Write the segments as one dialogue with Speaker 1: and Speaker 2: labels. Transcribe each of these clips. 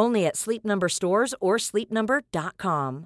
Speaker 1: Only at Sleep Number stores or sleepnumber.com.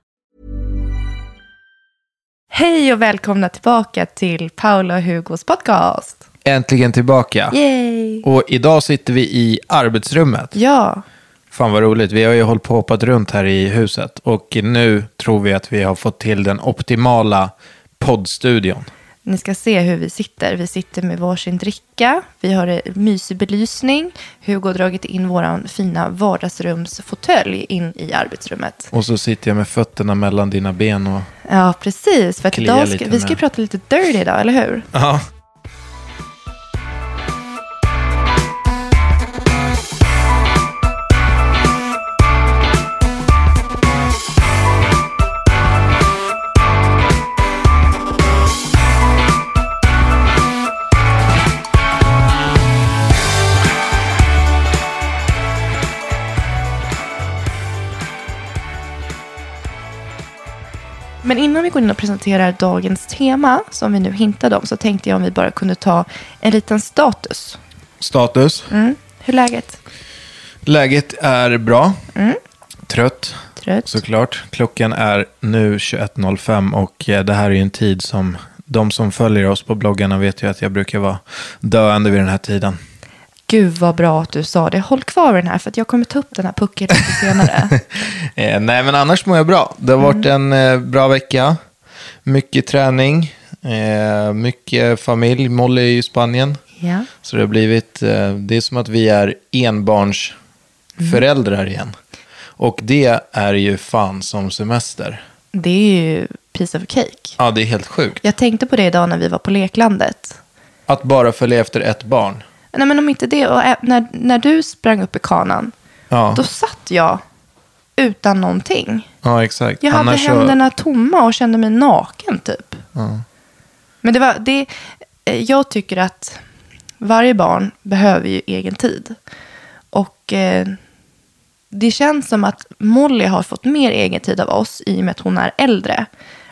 Speaker 2: Hej och välkomna tillbaka till Paula och Hugos podcast.
Speaker 3: Äntligen tillbaka.
Speaker 2: Yay!
Speaker 3: Och idag sitter vi i arbetsrummet.
Speaker 2: Ja,
Speaker 3: Fan vad roligt. Vi har ju hållit på och hoppat runt här i huset. Och nu tror vi att vi har fått till den optimala poddstudion.
Speaker 2: ni ska se hur vi sitter. Vi sitter med varsin dricka, vi har en mysig belysning. Hugo har dragit in vår fina vardagsrumsfåtölj in i arbetsrummet.
Speaker 3: Och så sitter jag med fötterna mellan dina ben och...
Speaker 2: Ja, precis. För att
Speaker 3: Kliar
Speaker 2: idag ska,
Speaker 3: lite
Speaker 2: vi ska
Speaker 3: med.
Speaker 2: prata lite dirty idag, eller hur?
Speaker 3: Ja.
Speaker 2: Men innan vi går in och presenterar dagens tema, som vi nu hintade om, så tänkte jag om vi bara kunde ta en liten status.
Speaker 3: Status.
Speaker 2: Mm. Hur är läget?
Speaker 3: Läget är bra.
Speaker 2: Mm.
Speaker 3: Trött
Speaker 2: Trött?
Speaker 3: såklart. Klockan är nu 21.05 och eh, det här är ju en tid som de som följer oss på bloggarna vet ju att jag brukar vara döende vid den här tiden.
Speaker 2: Gud vad bra att du sa det. Håll kvar vid den här för att jag kommer ta upp den här pucken lite senare.
Speaker 3: Eh, nej, men annars mår jag bra. Det har varit
Speaker 2: Mm.
Speaker 3: en eh, bra vecka. Mycket träning, eh, mycket familj. Molly är ju i Spanien.
Speaker 2: ja.
Speaker 3: Så det har blivit, eh, det är som att vi är enbarnsföräldrar
Speaker 2: Mm.
Speaker 3: igen. Och det är ju fan som semester.
Speaker 2: Det är ju piece of cake.
Speaker 3: Ja, det är helt sjukt.
Speaker 2: Jag tänkte på det idag när vi var på leklandet.
Speaker 3: Att bara följa efter ett barn.
Speaker 2: Nej men om inte det, och ä- när, när du sprang upp i kanan,
Speaker 3: Ja,
Speaker 2: då satt jag utan någonting.
Speaker 3: ja exakt.
Speaker 2: Jag hade
Speaker 3: så-
Speaker 2: händerna tomma och kände mig naken typ.
Speaker 3: Ja.
Speaker 2: Men det var, det, eh, jag tycker att varje barn behöver ju egen tid. Och eh, det känns som att Molly har fått mer egen tid av oss i och med att hon är äldre.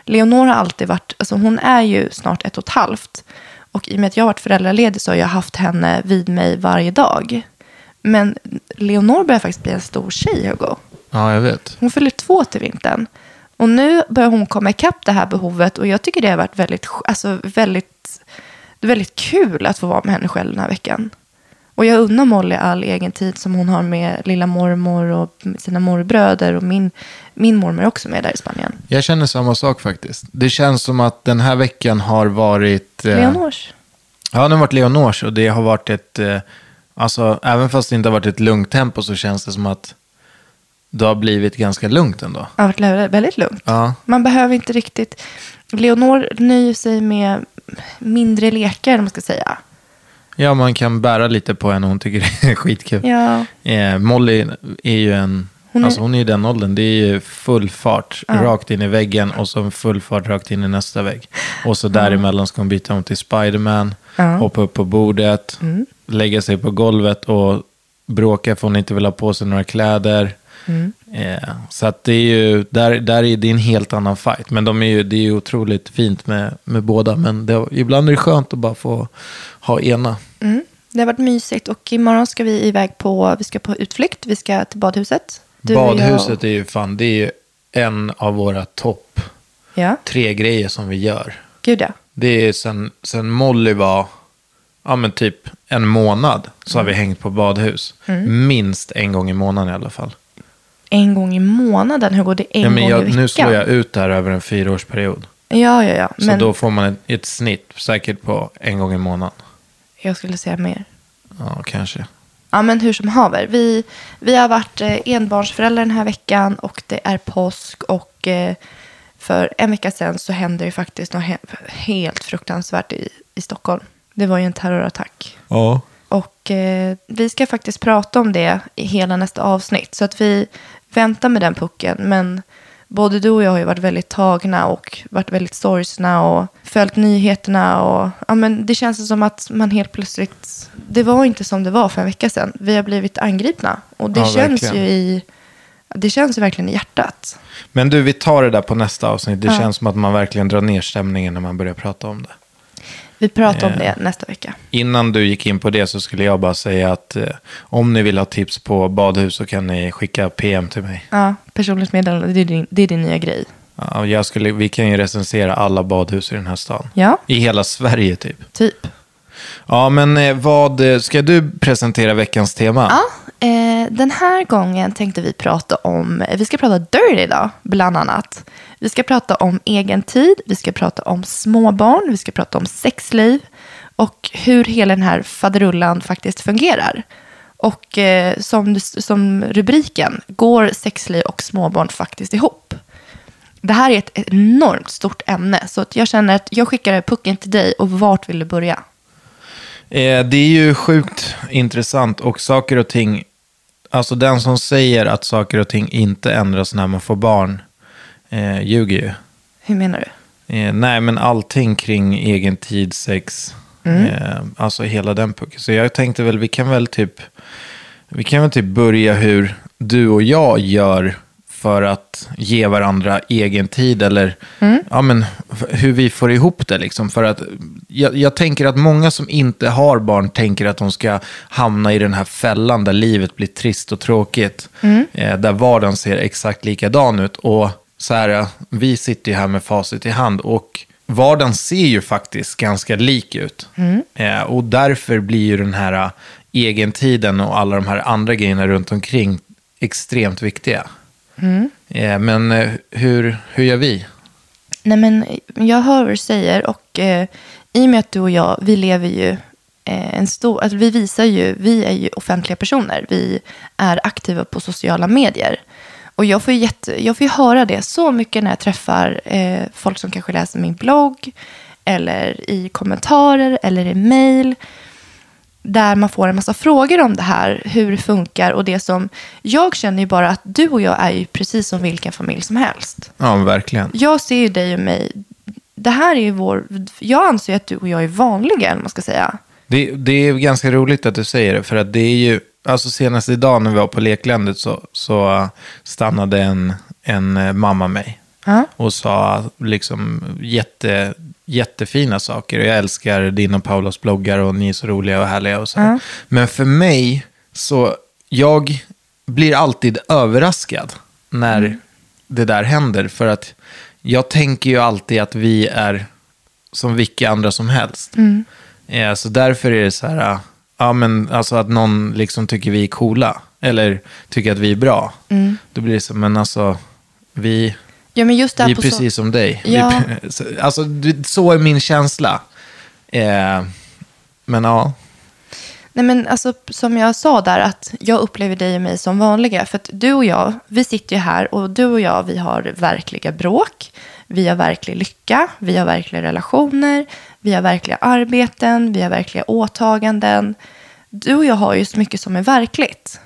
Speaker 2: Leonor har alltid varit, alltså hon är ju snart ett och ett halvt. Och i och med att jag har varit föräldraledig så har jag haft henne vid mig varje dag. Men Leonor börjar faktiskt bli en stor tjej, Hugo.
Speaker 3: ja, jag vet.
Speaker 2: Hon fyller två till vintern. Och nu börjar hon komma ikapp det här behovet och jag tycker det har varit väldigt, sk- alltså väldigt, det är väldigt kul att få vara med henne själv den här veckan. Och jag unnar Molly all egen tid som hon har med lilla mormor och sina morbröder och min, min mormor är också med där i Spanien.
Speaker 3: Jag känner samma sak faktiskt. Det känns som att den här veckan har varit... eh,
Speaker 2: Leonors.
Speaker 3: Ja, den har varit Leonors och det har varit ett... Eh, alltså, även fast det inte har varit ett lugnt tempo så känns det som att det har blivit ganska lugnt ändå.
Speaker 2: Det har varit lä- väldigt lugnt.
Speaker 3: Ja,
Speaker 2: Man behöver inte riktigt... Leonor nöjer sig med mindre lekar, om man ska säga.
Speaker 3: ja man kan bära lite på henne. Hon tycker det är skitkul.
Speaker 2: Ja.
Speaker 3: Eh, Molly är ju en...
Speaker 2: Hon
Speaker 3: Hon
Speaker 2: är-
Speaker 3: är... Alltså hon är ju den åldern. Det är ju full fart rakt in i väggen och så full fart rakt in i nästa vägg. Och så däremellan ska hon byta om till Spiderman, hoppa upp på Mm. bordet, lägga sig på golvet och bråka för hon inte vill ha på sig några kläder. Eh, så att det är ju, där, där är det en helt annan fight. Men de är ju, det är ju otroligt fint med, med båda. Men det, ibland är det skönt att bara få ha ena.
Speaker 2: Mm. Det har varit mysigt och imorgon ska vi iväg på, vi ska på utflykt, vi ska till badhuset. Du och jag.
Speaker 3: Badhuset är ju fan, det är ju en av våra topp
Speaker 2: Ja,
Speaker 3: tre grejer som vi gör.
Speaker 2: gud ja.
Speaker 3: Det är sen, sen Molly var, ja men typ en månad, så har
Speaker 2: Mm.
Speaker 3: vi hängt på badhus. Minst en gång i månaden i alla fall.
Speaker 2: En gång i månaden, hur går det en
Speaker 3: Ja, men
Speaker 2: gång i
Speaker 3: jag,
Speaker 2: veckan?
Speaker 3: nu slår jag ut det här över en fyraårsperiod.
Speaker 2: Ja, ja, ja.
Speaker 3: Så
Speaker 2: Men
Speaker 3: då får man ett, ett snitt, säkert på en gång i månaden.
Speaker 2: jag skulle säga mer.
Speaker 3: Ja, kanske.
Speaker 2: Ja, men hur som haver. Vi, vi har varit eh, enbarnsföräldrar den här veckan och det är påsk och eh, för en vecka sedan så hände ju faktiskt något he- helt fruktansvärt i, i Stockholm. Det var ju en terrorattack.
Speaker 3: Ja.
Speaker 2: Och eh, vi ska faktiskt prata om det i hela nästa avsnitt. Så att vi väntar med den pucken. Men både du och jag har ju varit väldigt tagna och varit väldigt sorgsna och följt nyheterna. Och, ja, men det känns som att man helt plötsligt... Det var inte som det var för en vecka sedan. Vi har blivit angripna. Och det
Speaker 3: Ja,
Speaker 2: känns
Speaker 3: verkligen.
Speaker 2: ju i... Det känns ju verkligen i hjärtat.
Speaker 3: Men du, vi tar det där på nästa avsnitt. Det känns som att man verkligen drar ner stämningen när man börjar prata om det.
Speaker 2: Vi pratar
Speaker 3: Eh.
Speaker 2: om det nästa vecka.
Speaker 3: Innan du gick in på det så skulle jag bara säga att eh, om ni vill ha tips på badhus så kan ni skicka PM till mig.
Speaker 2: Ja, personligt meddelande, det är din, det är din nya grej.
Speaker 3: Ja, jag skulle, vi kan ju recensera alla badhus i den här stan.
Speaker 2: Ja.
Speaker 3: I hela Sverige typ.
Speaker 2: Typ.
Speaker 3: Ja, men eh, vad eh, ska du presentera veckans tema?
Speaker 2: Ja, eh, den här gången tänkte vi prata om, eh, vi ska prata dirty idag, bland annat. Vi ska prata om egen tid, vi ska prata om småbarn, vi ska prata om sexliv och hur hela den här faderullan faktiskt fungerar. Och eh, som, som rubriken, går sexliv och småbarn faktiskt ihop? Det här är ett enormt stort ämne, så att jag känner att jag skickar pucken till dig och vart vill du börja?
Speaker 3: Eh, det är ju sjukt intressant och saker och ting, alltså den som säger att saker och ting inte ändras när man får barn, eh, ljuger ju.
Speaker 2: Hur menar du?
Speaker 3: Eh, nej, men allting kring egen tid, sex, eh, alltså hela den pucken. Så jag tänkte väl, vi kan väl typ, vi kan väl typ börja hur du och jag gör för att ge varandra egen tid eller ja, men, f- hur vi får ihop det. Liksom. För att, jag, jag tänker att många som inte har barn tänker att de ska hamna i den här fällan där livet blir trist och tråkigt. Eh, där vardagen ser exakt likadan ut. Och så här, vi sitter ju här med facit i hand och vardagen ser ju faktiskt ganska lik ut. Eh, och därför blir ju den här eh, egentiden och alla de här andra grejerna runt omkring extremt viktiga. Eh, men eh, hur, hur gör vi?
Speaker 2: Nej, men jag hör vad du säger och eh, i och med att du och jag, vi lever ju eh, en stor, alltså vi visar ju, vi är ju offentliga personer, vi är aktiva på sociala medier. Och jag får ju, jätte, jag får ju höra det så mycket när jag träffar eh, folk som kanske läser min blogg, eller i kommentarer, eller i mejl där man får en massa frågor om det här, hur det funkar och det som... Jag känner ju bara att du och jag är ju precis som vilken familj som helst.
Speaker 3: Ja, verkligen.
Speaker 2: Jag ser ju dig och mig. Det här är ju vår... Jag anser ju att du och jag är vanliga, eller vad man ska säga.
Speaker 3: Det, det är ganska roligt att du säger det, för att det är ju, alltså senast idag när vi var på leklandet så, så eh, stannade en, en eh, mamma mig
Speaker 2: Ja.
Speaker 3: och sa liksom jätte, jättefina saker. Och Jag älskar din och Paulas bloggar och ni är så roliga och härliga och så. här. Men för mig så, jag blir alltid överraskad när det där händer, för att jag tänker ju alltid att vi är som vilka andra som helst.
Speaker 2: Mm.
Speaker 3: Eh, så därför är det så här, ah, ja men alltså att någon liksom tycker vi är coola, eller tycker att vi är bra.
Speaker 2: Mm.
Speaker 3: Då blir det så, men alltså, vi,
Speaker 2: Ja, men just det här
Speaker 3: vi är
Speaker 2: på
Speaker 3: precis
Speaker 2: so-
Speaker 3: som dig. Vi
Speaker 2: Ja.
Speaker 3: är- så- alltså, du- så är min känsla. Eh, men ja,
Speaker 2: Nej, men alltså, som jag sa där, att jag upplever dig och mig som vanliga. För att du och jag, vi sitter ju här och du och jag, vi har verkliga bråk. Vi har verklig lycka, vi har verkliga relationer, vi har verkliga arbeten, vi har verkliga åtaganden. Du och jag har ju så mycket som är verkligt.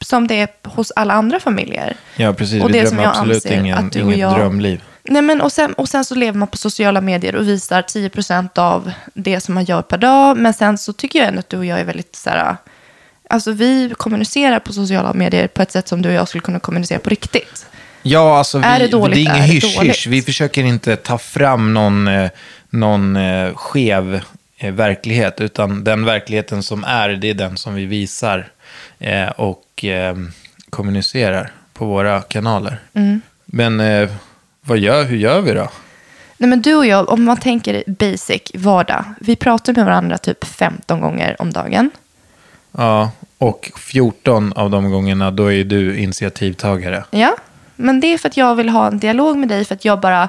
Speaker 2: Som det är hos alla andra familjer.
Speaker 3: ja precis.
Speaker 2: Och
Speaker 3: vi
Speaker 2: det som
Speaker 3: drömmer
Speaker 2: jag
Speaker 3: absolut
Speaker 2: anser
Speaker 3: ingen,
Speaker 2: att du och
Speaker 3: inget
Speaker 2: jag-
Speaker 3: drömliv.
Speaker 2: Nej, men och, sen, och sen så lever man på sociala medier och visar 10% av det som man gör per dag. Men sen så tycker jag ändå att du och jag är väldigt så här, äh, Alltså vi kommunicerar på sociala medier på ett sätt som du och jag skulle kunna kommunicera på riktigt.
Speaker 3: Ja, alltså vi,
Speaker 2: Är det dåligt? Är
Speaker 3: är ingen
Speaker 2: det
Speaker 3: hysch-hysch.
Speaker 2: dåligt?
Speaker 3: Vi försöker inte ta fram någon, eh, någon eh, skev eh, verklighet, utan den verkligheten som är, det är den som vi visar eh, och eh, kommunicerar på våra kanaler.
Speaker 2: Mm.
Speaker 3: Men eh, vad gör, hur gör vi då?
Speaker 2: Nej men du och jag, om man tänker basic vardag. Vi pratar med varandra typ 15 gånger om dagen.
Speaker 3: Ja, och 14 av de gångerna, då är du initiativtagare.
Speaker 2: Ja, men det är för att jag vill ha en dialog med dig för att jag bara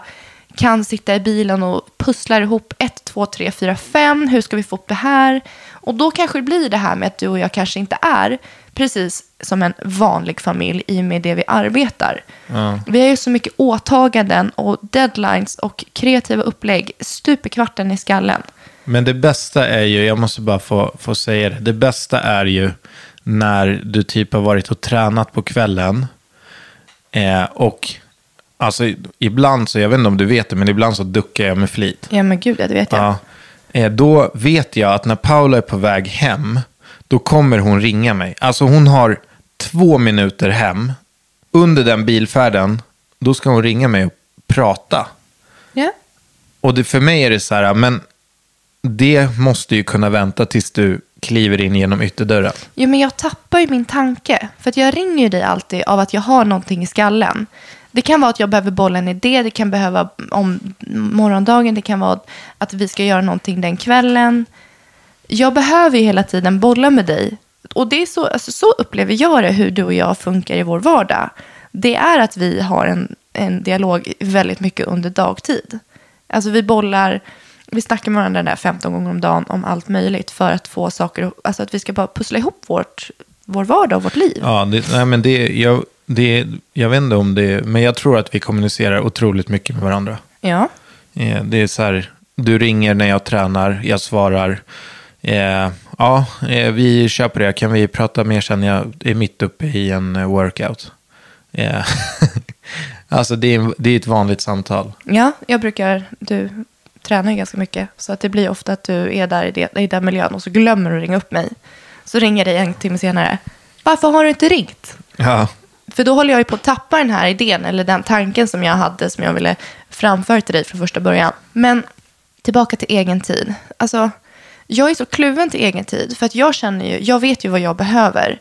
Speaker 2: kan sitta i bilen och pussla ihop ett, två, tre, fyra, fem. Hur ska vi få upp det här? Och då kanske det blir det här med att du och jag kanske inte är precis som en vanlig familj i och med det vi arbetar. Vi har ju så mycket åtaganden och deadlines och kreativa upplägg stup i kvarten i skallen.
Speaker 3: Men det bästa är ju, jag måste bara få, få säga det, det bästa är ju när du typ har varit och tränat på kvällen eh, och alltså i- ibland så, jag vet inte om du vet det, men ibland så duckar jag med flit.
Speaker 2: Ja men gud, ja, det vet jag.
Speaker 3: Ja. Eh, då vet jag att när Paula är på väg hem, då kommer hon ringa mig. Alltså hon har två minuter hem, under den bilfärden, då ska hon ringa mig och prata.
Speaker 2: Ja.
Speaker 3: Och det, för mig är det så här, men det måste ju kunna vänta tills du kliver in genom ytterdörren.
Speaker 2: Jo, men jag tappar ju min tanke. För att jag ringer ju dig alltid av att jag har någonting i skallen. Det kan vara att jag behöver bolla en idé, det kan behöva om morgondagen, det kan vara att vi ska göra någonting den kvällen. Jag behöver ju hela tiden bolla med dig. Och det är så, alltså, så upplever jag det, hur du och jag funkar i vår vardag. Det är att vi har en, en dialog väldigt mycket under dagtid. Alltså vi bollar, vi snackar med varandra där 15 gånger om dagen om allt möjligt för att få saker, alltså att vi ska bara pussla ihop vårt, vår vardag och vårt liv.
Speaker 3: Ja, det, nej, men det, jag, det, jag vet inte om det, men jag tror att vi kommunicerar otroligt mycket med varandra.
Speaker 2: Ja.
Speaker 3: Eh, det är så här, du ringer när jag tränar, jag svarar. Eh, ja, eh, vi kör på det, kan vi prata mer sen, jag är mitt uppe i en eh, workout. Eh, alltså det är, det är ett vanligt samtal.
Speaker 2: ja, jag brukar, du tränar ju ganska mycket så att det blir ofta att du är där i, det, i den miljön och så glömmer du att ringa upp mig. Så ringer jag dig en timme senare. Varför har du inte ringt?
Speaker 3: Ja.
Speaker 2: För då håller jag ju på att tappa den här idén eller den tanken som jag hade som jag ville framföra till dig från första början. Men tillbaka till egen tid. Alltså, jag är så kluven till egen tid för att jag känner ju, jag vet ju vad jag behöver.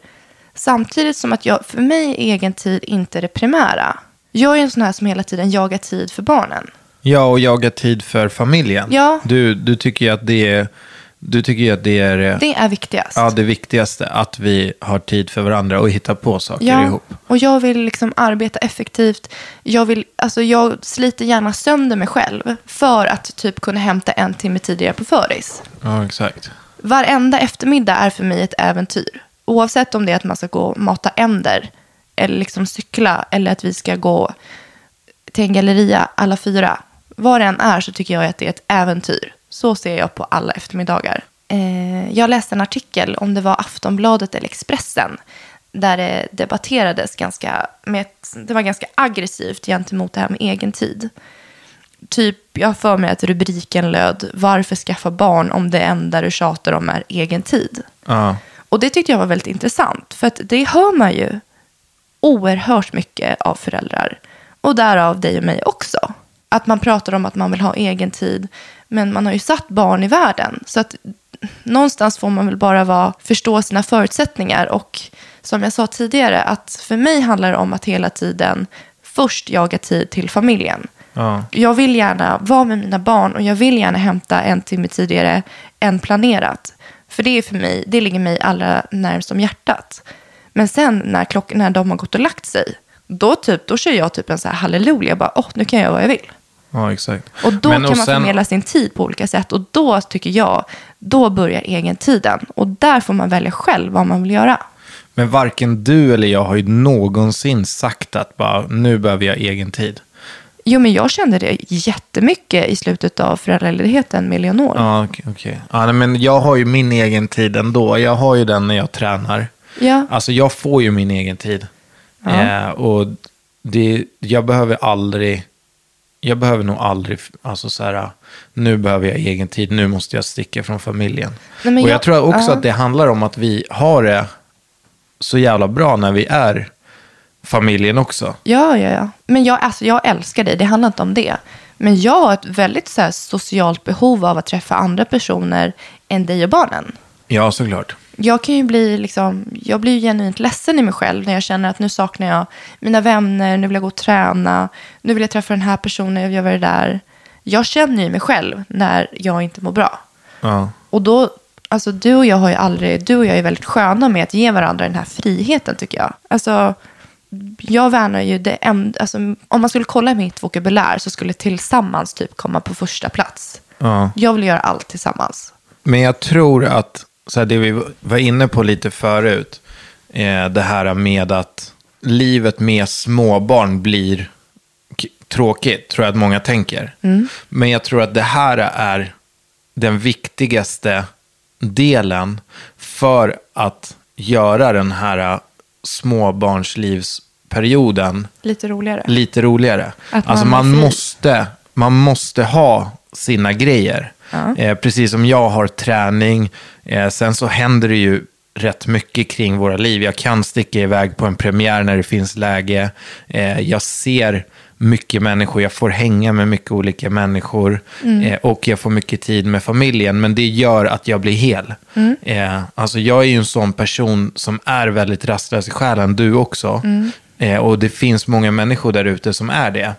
Speaker 2: Samtidigt som att jag, för mig är egen tid inte det primära. Jag är en sån här som hela tiden jagar tid för barnen.
Speaker 3: Ja, och jaga tid för familjen.
Speaker 2: Ja.
Speaker 3: Du, du tycker ju att det är, du tycker ju att det är, eh,
Speaker 2: Det är viktigast.
Speaker 3: ja, det viktigaste, att vi har tid för varandra och hittar på saker ihop.
Speaker 2: och jag vill liksom arbeta effektivt. Jag, vill, alltså jag sliter gärna sönder mig själv för att typ kunna hämta en timme tidigare på föris.
Speaker 3: Ja, exakt.
Speaker 2: Varenda eftermiddag är för mig ett äventyr. Oavsett om det är att man ska gå och mata änder, eller liksom cykla, eller att vi ska gå till en galleria alla fyra. Vad det än är så tycker jag att det är ett äventyr. Så ser jag på alla eftermiddagar. Eh, jag läste en artikel, om det var Aftonbladet eller Expressen, där det debatterades ganska, med ett, det var ganska aggressivt gentemot det här med egen tid typ, jag har för mig att rubriken löd Varför skaffa barn om det enda du tjatar om är egen tid?
Speaker 3: Ja.
Speaker 2: Och det tyckte jag var väldigt intressant, för att det hör man ju oerhört mycket av föräldrar. Och därav dig och mig också. Att man pratar om att man vill ha egen tid, men man har ju satt barn i världen. Så att någonstans får man väl bara vara, förstå sina förutsättningar. Och som jag sa tidigare, att för mig handlar det om att hela tiden först jaga tid till familjen.
Speaker 3: Ja.
Speaker 2: Jag vill gärna vara med mina barn och jag vill gärna hämta en timme tidigare än planerat. För det är för mig, det ligger mig allra närmst om hjärtat. Men sen när, klock, när de har gått och lagt sig, då, typ, då kör jag typ en så här halleluja, bara åh, nu kan jag göra vad jag vill.
Speaker 3: ja, exakt.
Speaker 2: Och då
Speaker 3: Men-
Speaker 2: kan man
Speaker 3: sen-
Speaker 2: förmedla sin tid på olika sätt och då tycker jag, då börjar egentiden. Och där får man välja själv vad man vill göra.
Speaker 3: Men varken du eller jag har ju någonsin sagt att bara, nu behöver jag egen tid.
Speaker 2: Jo, men jag kände det jättemycket i slutet av föräldraledigheten med Leonor.
Speaker 3: Ja, okej. okej. Ja, nej, men jag har ju min egen tid ändå. Jag har ju den när jag tränar.
Speaker 2: Ja.
Speaker 3: Alltså jag får ju min egen tid. Eh, och det, jag behöver aldrig, jag behöver nog aldrig, alltså så här, nu behöver jag egen tid, nu måste jag sticka från familjen.
Speaker 2: Nej, men
Speaker 3: och jag,
Speaker 2: jag-
Speaker 3: tror också
Speaker 2: ja.
Speaker 3: att det handlar om att vi har det, så jävla bra när vi är familjen också.
Speaker 2: Ja, ja, ja. Men jag, alltså, jag älskar dig, det handlar inte om det. Men jag har ett väldigt så här, socialt behov av att träffa andra personer än dig och barnen.
Speaker 3: Ja, såklart.
Speaker 2: Jag kan ju bli liksom, jag blir ju genuint ledsen i mig själv när jag känner att nu saknar jag mina vänner, nu vill jag gå och träna, nu vill jag träffa den här personen, jag vill göra det där. Jag känner ju mig själv när jag inte mår bra.
Speaker 3: Ja.
Speaker 2: Och då, alltså du och jag har ju aldrig, du och jag är väldigt sköna med att ge varandra den här friheten tycker jag. Alltså, jag värnar ju det enda, alltså, om man skulle kolla mitt vokabulär så skulle tillsammans typ komma på första plats.
Speaker 3: Ja.
Speaker 2: Jag vill göra allt tillsammans.
Speaker 3: Men jag tror att, så här, det vi var inne på lite förut, eh, det här med att livet med småbarn blir k- tråkigt, tror jag att många tänker. Men jag tror att det här är den viktigaste delen för att göra den här eh, småbarnslivsperioden
Speaker 2: Lite roligare.
Speaker 3: lite roligare.
Speaker 2: Att
Speaker 3: alltså
Speaker 2: man har
Speaker 3: man
Speaker 2: fri.
Speaker 3: måste, man måste ha sina grejer. Eh, precis som jag har träning. Eh, sen så händer det ju rätt mycket kring våra liv. Jag kan sticka iväg på en premiär när det finns läge. Eh, jag ser mycket människor, jag får hänga med mycket olika människor
Speaker 2: Mm.
Speaker 3: eh, och jag får mycket tid med familjen, men det gör att jag blir hel.
Speaker 2: Mm.
Speaker 3: Eh, alltså jag är ju en sån person som är väldigt rastlös i själen, du också.
Speaker 2: Mm.
Speaker 3: Eh, och det finns många människor där ute som är det.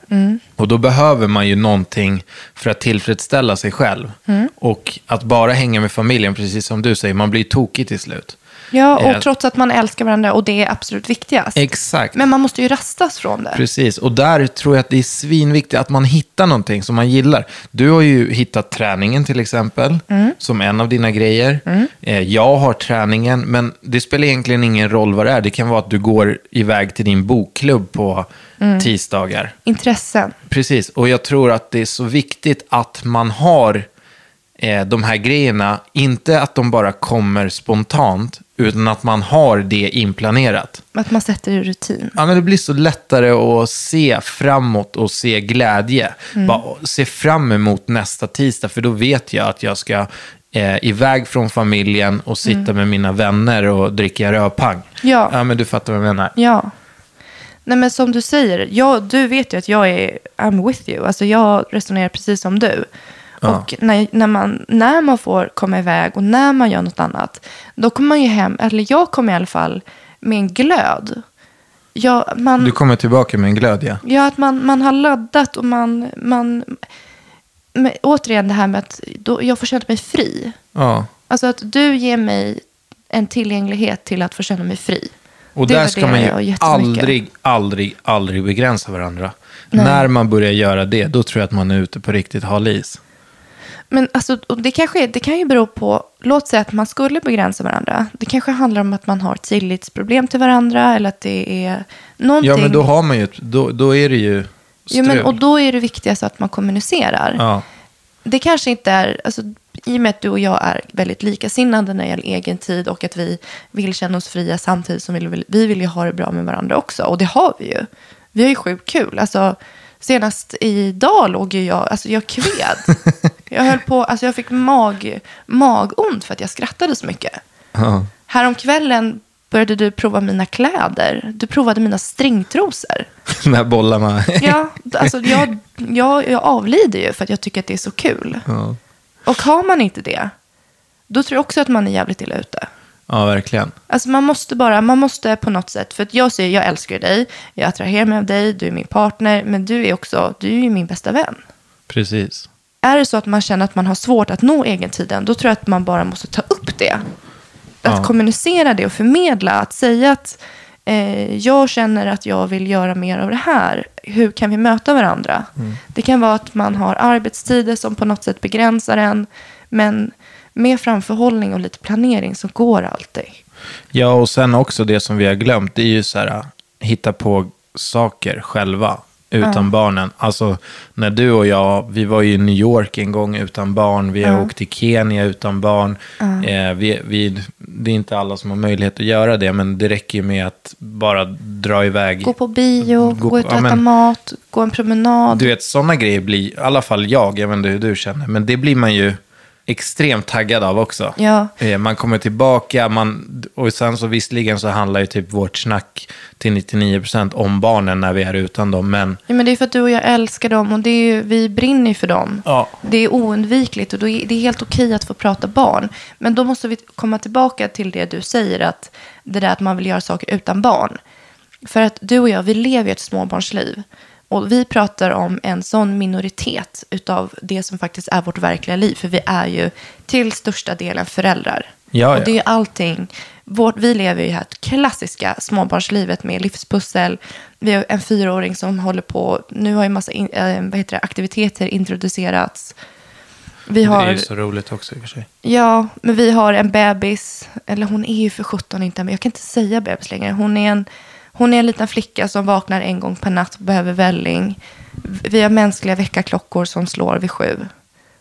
Speaker 3: Och då behöver man ju någonting för att tillfredsställa sig själv. Och att bara hänga med familjen, precis som du säger, man blir tokig till slut.
Speaker 2: Ja, och
Speaker 3: Eh.
Speaker 2: trots att man älskar varandra och det är absolut viktigast.
Speaker 3: Exakt.
Speaker 2: Men man måste ju rastas från det.
Speaker 3: Precis, och där tror jag att det är svinviktigt att man hittar någonting som man gillar. Du har ju hittat träningen till exempel, som en av dina grejer. Eh, Jag har träningen, men det spelar egentligen ingen roll vad det är. Det kan vara att du går iväg till din bokklubb på tisdagar.
Speaker 2: Intressen.
Speaker 3: Precis, och jag tror att det är så viktigt att man har eh, de här grejerna, inte att de bara kommer spontant, utan att man har det inplanerat.
Speaker 2: Att man sätter i rutin.
Speaker 3: Ja, men det blir så lättare att se framåt och se glädje. Bara se fram emot nästa tisdag, för då vet jag att jag ska eh, iväg från familjen och sitta med mina vänner och dricka rödpang.
Speaker 2: Ja.
Speaker 3: ja, men du fattar vad jag menar.
Speaker 2: Ja. Nej, men som du säger, jag, du vet ju att jag är I'm with you. Alltså, jag resonerar precis som du. Och när, när, man, när man får komma iväg och när man gör något annat, då kommer man ju hem, eller jag kommer i alla fall med en glöd. Jag, man,
Speaker 3: Du kommer tillbaka med en glödja.
Speaker 2: Ja, att man, man har laddat och man... man men återigen det här med att då, jag får känna mig fri.
Speaker 3: Ja.
Speaker 2: Alltså att du ger mig en tillgänglighet till att få känna mig fri.
Speaker 3: Och
Speaker 2: Det
Speaker 3: där ska
Speaker 2: värderar
Speaker 3: man
Speaker 2: jag
Speaker 3: ju
Speaker 2: jättemycket.
Speaker 3: aldrig, aldrig, aldrig begränsa varandra. När man börjar göra det, då tror jag att man är ute på riktigt hal is.
Speaker 2: Men alltså, och det, kanske, det kan ju bero på, låt säga att man skulle begränsa varandra. Det kanske handlar om att man har tillitsproblem till varandra eller att det är någonting.
Speaker 3: Ja, men då har man ju, ett- då, då är det ju
Speaker 2: Jo,
Speaker 3: strul.
Speaker 2: men, och då är det viktigaste att man kommunicerar.
Speaker 3: ja.
Speaker 2: det kanske inte är, alltså, i och med att du och jag är väldigt likasinnade när det gäller egen tid och att vi vill känna oss fria samtidigt som vi vill, vi vill ju ha det bra med varandra också. Och det har vi ju. Vi har ju sjukt kul. Alltså, senast idag låg ju jag, alltså jag kved. Jag höll på, alltså jag fick mag, magont för att jag skrattade så mycket.
Speaker 3: Ja.
Speaker 2: Häromkvällen började du prova mina kläder. Du provade mina stringtrosor.
Speaker 3: När bollar man.
Speaker 2: Ja, alltså jag, jag, jag avlider ju för att jag tycker att det är så kul.
Speaker 3: Ja.
Speaker 2: Och har man inte det, då tror jag också att man är jävligt illa ute.
Speaker 3: Ja, verkligen.
Speaker 2: Alltså man måste bara, man måste på något sätt, för att jag säger jag älskar ju dig, jag attraherar mig av dig, du är min partner, men du är också, du är ju min bästa vän.
Speaker 3: Precis.
Speaker 2: Är det så att man känner att man har svårt att nå egentiden, då tror jag att man bara måste ta upp det. Att
Speaker 3: Ja.
Speaker 2: kommunicera det och förmedla, att säga att eh, jag känner att jag vill göra mer av det här. Hur kan vi möta varandra?
Speaker 3: Mm.
Speaker 2: Det kan vara att man har arbetstider som på något sätt begränsar en, men med framförhållning och lite planering så går det alltid.
Speaker 3: Ja, och sen också det som vi har glömt, det är ju så här, äh, hitta på saker själva utan barnen. Alltså, när du och jag, vi var ju i New York en gång utan barn, vi har åkt till Kenya utan barn. Eh, vi, vi, det är inte alla som har möjlighet att göra det, men det räcker ju med att bara dra iväg.
Speaker 2: Gå på bio,
Speaker 3: Gå
Speaker 2: gå,
Speaker 3: på-
Speaker 2: ut och
Speaker 3: ja,
Speaker 2: äta
Speaker 3: men-
Speaker 2: mat, gå en promenad.
Speaker 3: Du vet, sådana grejer blir, i alla fall jag, jag vet inte hur du känner, men det blir man ju extremt taggad av också.
Speaker 2: Ja.
Speaker 3: Eh, Man kommer tillbaka man, och sen så visserligen så handlar ju typ vårt snack till 99% om barnen när vi är utan dem. Men
Speaker 2: Ja, men det är för att du och jag älskar dem och det är ju, vi brinner ju för dem.
Speaker 3: Ja.
Speaker 2: Det är oundvikligt och då är, det är helt okej att få prata barn. Men då måste vi komma tillbaka till det du säger, att det där att man vill göra saker utan barn. För att du och jag, vi lever ju ett småbarnsliv. Och vi pratar om en sån minoritet utav det som faktiskt är vårt verkliga liv. För vi är ju till största delen föräldrar.
Speaker 3: Ja,
Speaker 2: Och det är ju
Speaker 3: ja.
Speaker 2: allting. Vårt, vi lever ju det här klassiska småbarnslivet med livspussel. Vi har en fyraåring som håller på. Nu har ju massa in, eh, vad heter det, aktiviteter introducerats. Vi har,
Speaker 3: det är ju så roligt också i och för sig.
Speaker 2: Ja, men vi har en bebis. Eller hon är ju för 17 inte, men jag kan inte säga bebis längre. Hon är en, hon är en liten flicka som vaknar en gång per natt och behöver välling. Vi har mänskliga veckaklockor som slår vid sju.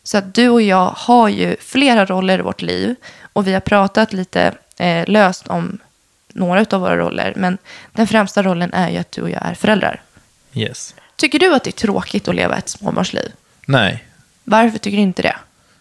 Speaker 2: Så att du och jag har ju flera roller i vårt liv. Och vi har pratat lite eh, löst om några av våra roller. Men den främsta rollen är ju att du och jag är föräldrar.
Speaker 3: Yes.
Speaker 2: Tycker du att det är tråkigt att leva ett småbarnsliv?
Speaker 3: Nej.
Speaker 2: Varför tycker du inte det?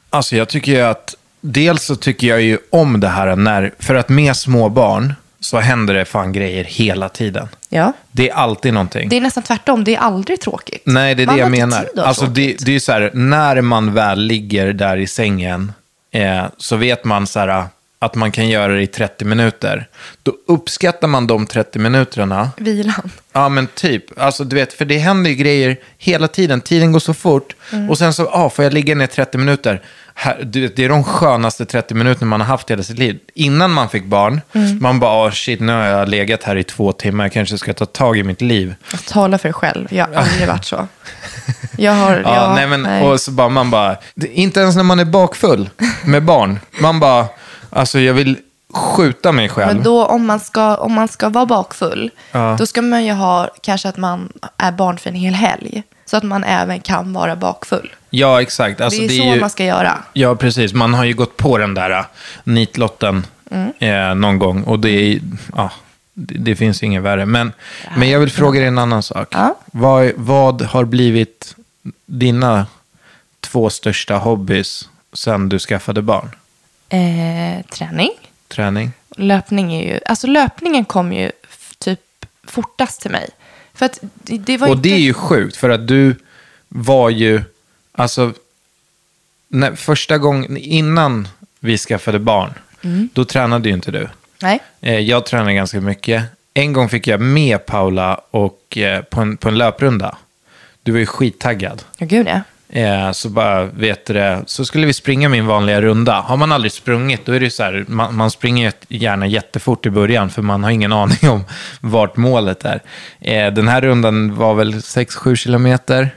Speaker 3: Alltså jag tycker ju att, dels så tycker jag ju om det här när, för att med små barn så händer det fan grejer hela tiden.
Speaker 2: Ja.
Speaker 3: Det är alltid någonting.
Speaker 2: Det är nästan tvärtom, det är aldrig tråkigt.
Speaker 3: Nej, det är
Speaker 2: Man
Speaker 3: det jag
Speaker 2: har inte
Speaker 3: menar.
Speaker 2: tid att ha
Speaker 3: Alltså, det,
Speaker 2: tråkigt.
Speaker 3: det är ju så här, när man väl ligger där i sängen eh, så vet man så här, att man kan göra det i 30 minuter. Då uppskattar man de 30 minuterna.
Speaker 2: Vilan.
Speaker 3: Ja, men typ. Alltså, du vet, för det händer ju grejer hela tiden. Tiden går så fort.
Speaker 2: Mm.
Speaker 3: Och sen så, ah, får jag ligga ner 30 minuter? Här, du vet, det är de skönaste 30 minuterna man har haft hela sitt liv. Innan man fick barn,
Speaker 2: Mm.
Speaker 3: man bara, ah, shit, nu har jag legat här i två timmar. Jag kanske ska ta tag i mitt liv.
Speaker 2: Tala för dig själv, jag har aldrig varit så. Jag har...
Speaker 3: Ja,
Speaker 2: jag,
Speaker 3: nej men, och så bara, man bara, det- inte ens när man är bakfull med barn. Man bara, alltså jag vill skjuta mig själv.
Speaker 2: Men då om man ska, om man ska vara bakfull, då ska man ju ha kanske att man är barnfri en hel helg. Så att man även kan vara bakfull.
Speaker 3: ja, exakt. Alltså,
Speaker 2: det är, så man ska göra.
Speaker 3: Ja, precis. Man har ju gått på den där äh, nitlotten
Speaker 2: Mm.
Speaker 3: eh, någon gång. Och det är, ja, det, det finns inget värre. Men, men jag vill fråga dig en annan sak.
Speaker 2: Ja.
Speaker 3: Vad, vad har blivit dina två största hobbys sen du skaffade barn?
Speaker 2: Eh, träning.
Speaker 3: Träning?
Speaker 2: Löpning är ju... Alltså löpningen kom ju f- typ fortast till mig. För att det, det var
Speaker 3: Och
Speaker 2: inte...
Speaker 3: det är ju sjukt, för att du var ju, alltså, när, första gången innan vi skaffade barn, då tränade ju inte du.
Speaker 2: Nej.
Speaker 3: Eh, jag tränade ganska mycket. En gång fick jag med Paula och, eh, på, en, på en löprunda. Du var ju skittaggad.
Speaker 2: Ja, gud ja.
Speaker 3: Eh, så bara, vet du det, så skulle vi springa min vanliga runda. Har man aldrig sprungit, då är det ju så här, man, man springer ju gärna jättefort i början, för man har ingen aning om vart målet är. Eh, den här rundan var väl 6-7 kilometer.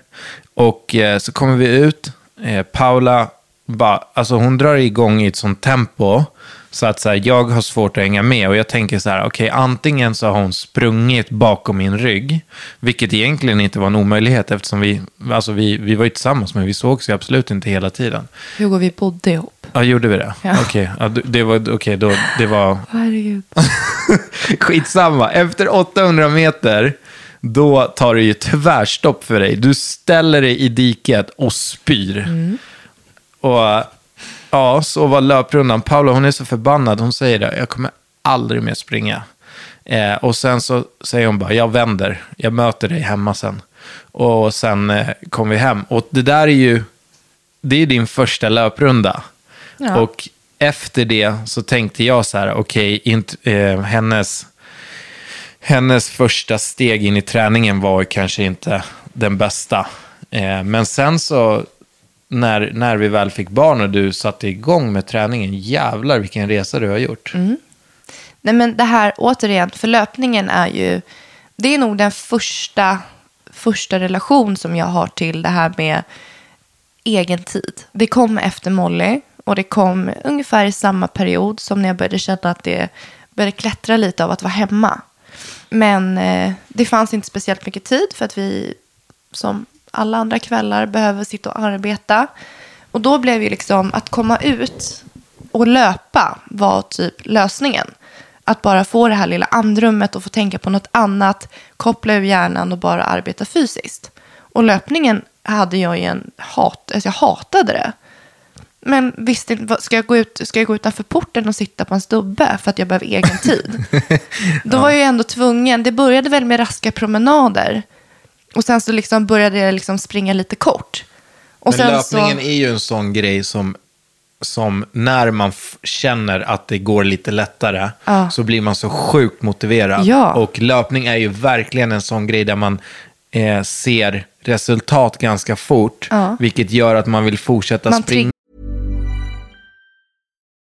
Speaker 3: Och eh, så kommer vi ut, eh, Paula, bara, alltså hon drar igång i ett sånt tempo, så att så här, jag har svårt att hänga med. Och jag tänker så här, okej, antingen så har hon sprungit bakom min rygg, vilket egentligen inte var en omöjlighet eftersom vi, alltså vi, vi var ju tillsammans, men vi sågs ju absolut inte hela tiden.
Speaker 2: Hugo, vi bodde ihop.
Speaker 3: Ja, gjorde vi det?
Speaker 2: Ja.
Speaker 3: Okej, ja, d- det var, okej, då, det var
Speaker 2: Herregud.
Speaker 3: Skitsamma, efter 800 meter, då tar det ju tvärstopp för dig. Du ställer dig i diket och spyr. Och ja, så var löprundan. Paula, hon är så förbannad. Hon säger det, jag kommer aldrig mer springa. Eh, och sen så säger hon bara, jag vänder. Jag möter dig hemma sen. Och sen eh, kom vi hem. Och det där är ju, det är din första löprunda.
Speaker 2: Ja.
Speaker 3: Och efter det så tänkte jag så här, okej, int- eh, hennes, hennes första steg in i träningen var kanske inte den bästa. Eh, men sen så, när, när vi väl fick barn och du satte igång med träningen, jävlar vilken resa du har gjort.
Speaker 2: Nej, men det här återigen, för löpningen är ju, det är nog den första, första relation som jag har till det här med egen tid. Det kom efter Molly och det kom ungefär i samma period som när jag började känna att det började klättra lite av att vara hemma. Men eh, det fanns inte speciellt mycket tid för att vi som alla andra kvällar behöver sitta och arbeta. Och då blev ju liksom att komma ut och löpa var typ lösningen. Att bara få det här lilla andrummet och få tänka på något annat, koppla ur hjärnan och bara arbeta fysiskt. Och löpningen hade jag ju en hat, alltså jag hatade det. Men visst, vad- ska jag, gå ut, ska jag gå utanför porten och sitta på en stubbe för att jag behöver egen tid? Då var jag ju ändå tvungen. Det började väl med raska promenader. Och sen så liksom började jag liksom springa lite kort. Och
Speaker 3: Men
Speaker 2: sen
Speaker 3: löpningen är ju en sån grej som, som när man f- känner att det går lite lättare
Speaker 2: Ja.
Speaker 3: så blir man så sjukt motiverad.
Speaker 2: Ja.
Speaker 3: Och löpning är ju verkligen en sån grej där man eh, ser resultat ganska fort,
Speaker 2: Ja.
Speaker 3: vilket gör att man vill fortsätta
Speaker 2: Man
Speaker 3: springa.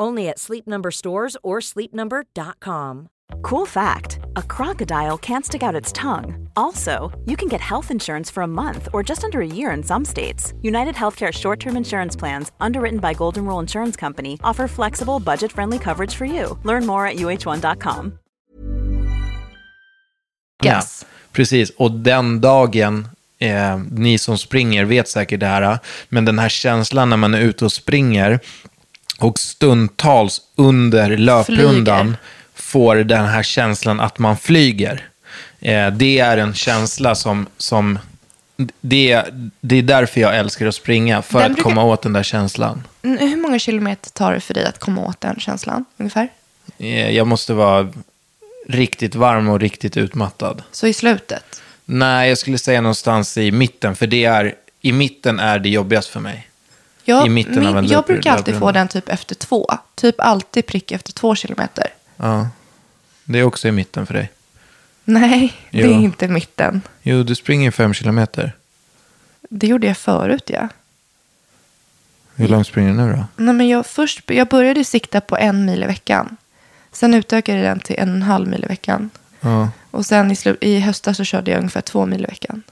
Speaker 1: Only at Sleep Number stores or sleepnumber.com.
Speaker 4: Cool fact a crocodile can't stick out its tongue. Also, you can get health insurance for a month or just under a year in some states. United Healthcare short term insurance plans, underwritten by Golden Rule Insurance Company, offer flexible, budget friendly coverage for you. Learn more at uh1.com.
Speaker 2: Yes.
Speaker 3: Precis, och den dagen, eh, ni som springer vet säkert det här, men den här känslan när man är ute och springer och stundtals under löprundan
Speaker 2: Flyger.
Speaker 3: får den här känslan att man flyger. Eh, det är en känsla som, som det, det är därför jag älskar att springa, för
Speaker 2: Den
Speaker 3: att
Speaker 2: brukar-
Speaker 3: komma åt den där känslan.
Speaker 2: Mm, Hur många kilometer tar det för dig att komma åt den känslan ungefär?
Speaker 3: Eh, jag måste vara riktigt varm och riktigt utmattad.
Speaker 2: Så i slutet?
Speaker 3: Nej, jag skulle säga någonstans i mitten, för det är, i mitten är det jobbigast för mig.
Speaker 2: Jag,
Speaker 3: I mitten av en
Speaker 2: jag
Speaker 3: löpru-
Speaker 2: brukar alltid få
Speaker 3: löprunda.
Speaker 2: den typ efter två. Typ alltid prick efter två kilometer.
Speaker 3: Ja. Det är också i mitten för dig.
Speaker 2: Nej,
Speaker 3: Jo.
Speaker 2: det är inte mitten.
Speaker 3: Jo, du springer fem kilometer.
Speaker 2: Det gjorde jag förut, ja.
Speaker 3: Hur långt springer du nu då?
Speaker 2: Nej, men jag, först, jag började sikta på en mil i veckan. Sen utökade jag den till en och en halv mil i veckan.
Speaker 3: Ja,
Speaker 2: Och sen i, slu- i höstas så körde jag ungefär två mil i veckan.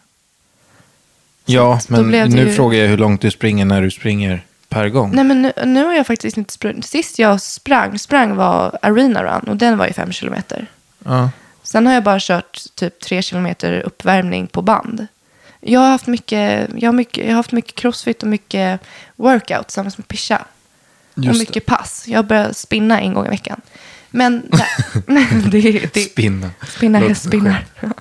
Speaker 3: ja
Speaker 2: då
Speaker 3: men
Speaker 2: blev det
Speaker 3: nu
Speaker 2: ju-
Speaker 3: frågar jag hur långt du springer när du springer per gång.
Speaker 2: Nej, men nu, nu har jag faktiskt inte sprungit. Sist jag sprang, sprang var Arena Run och den var ju fem kilometer.
Speaker 3: Ja.
Speaker 2: Sen har jag bara kört typ tre kilometer uppvärmning på band. Jag har haft mycket, jag har mycket, jag har haft mycket crossfit och mycket workout tillsammans med Pisha. Och
Speaker 3: Just det.
Speaker 2: mycket pass. Jag börjar spinna en gång i veckan. Men nej, det, det,
Speaker 3: Spinna.
Speaker 2: Spinna,
Speaker 3: Låter
Speaker 2: jag spinnar.
Speaker 3: skönt.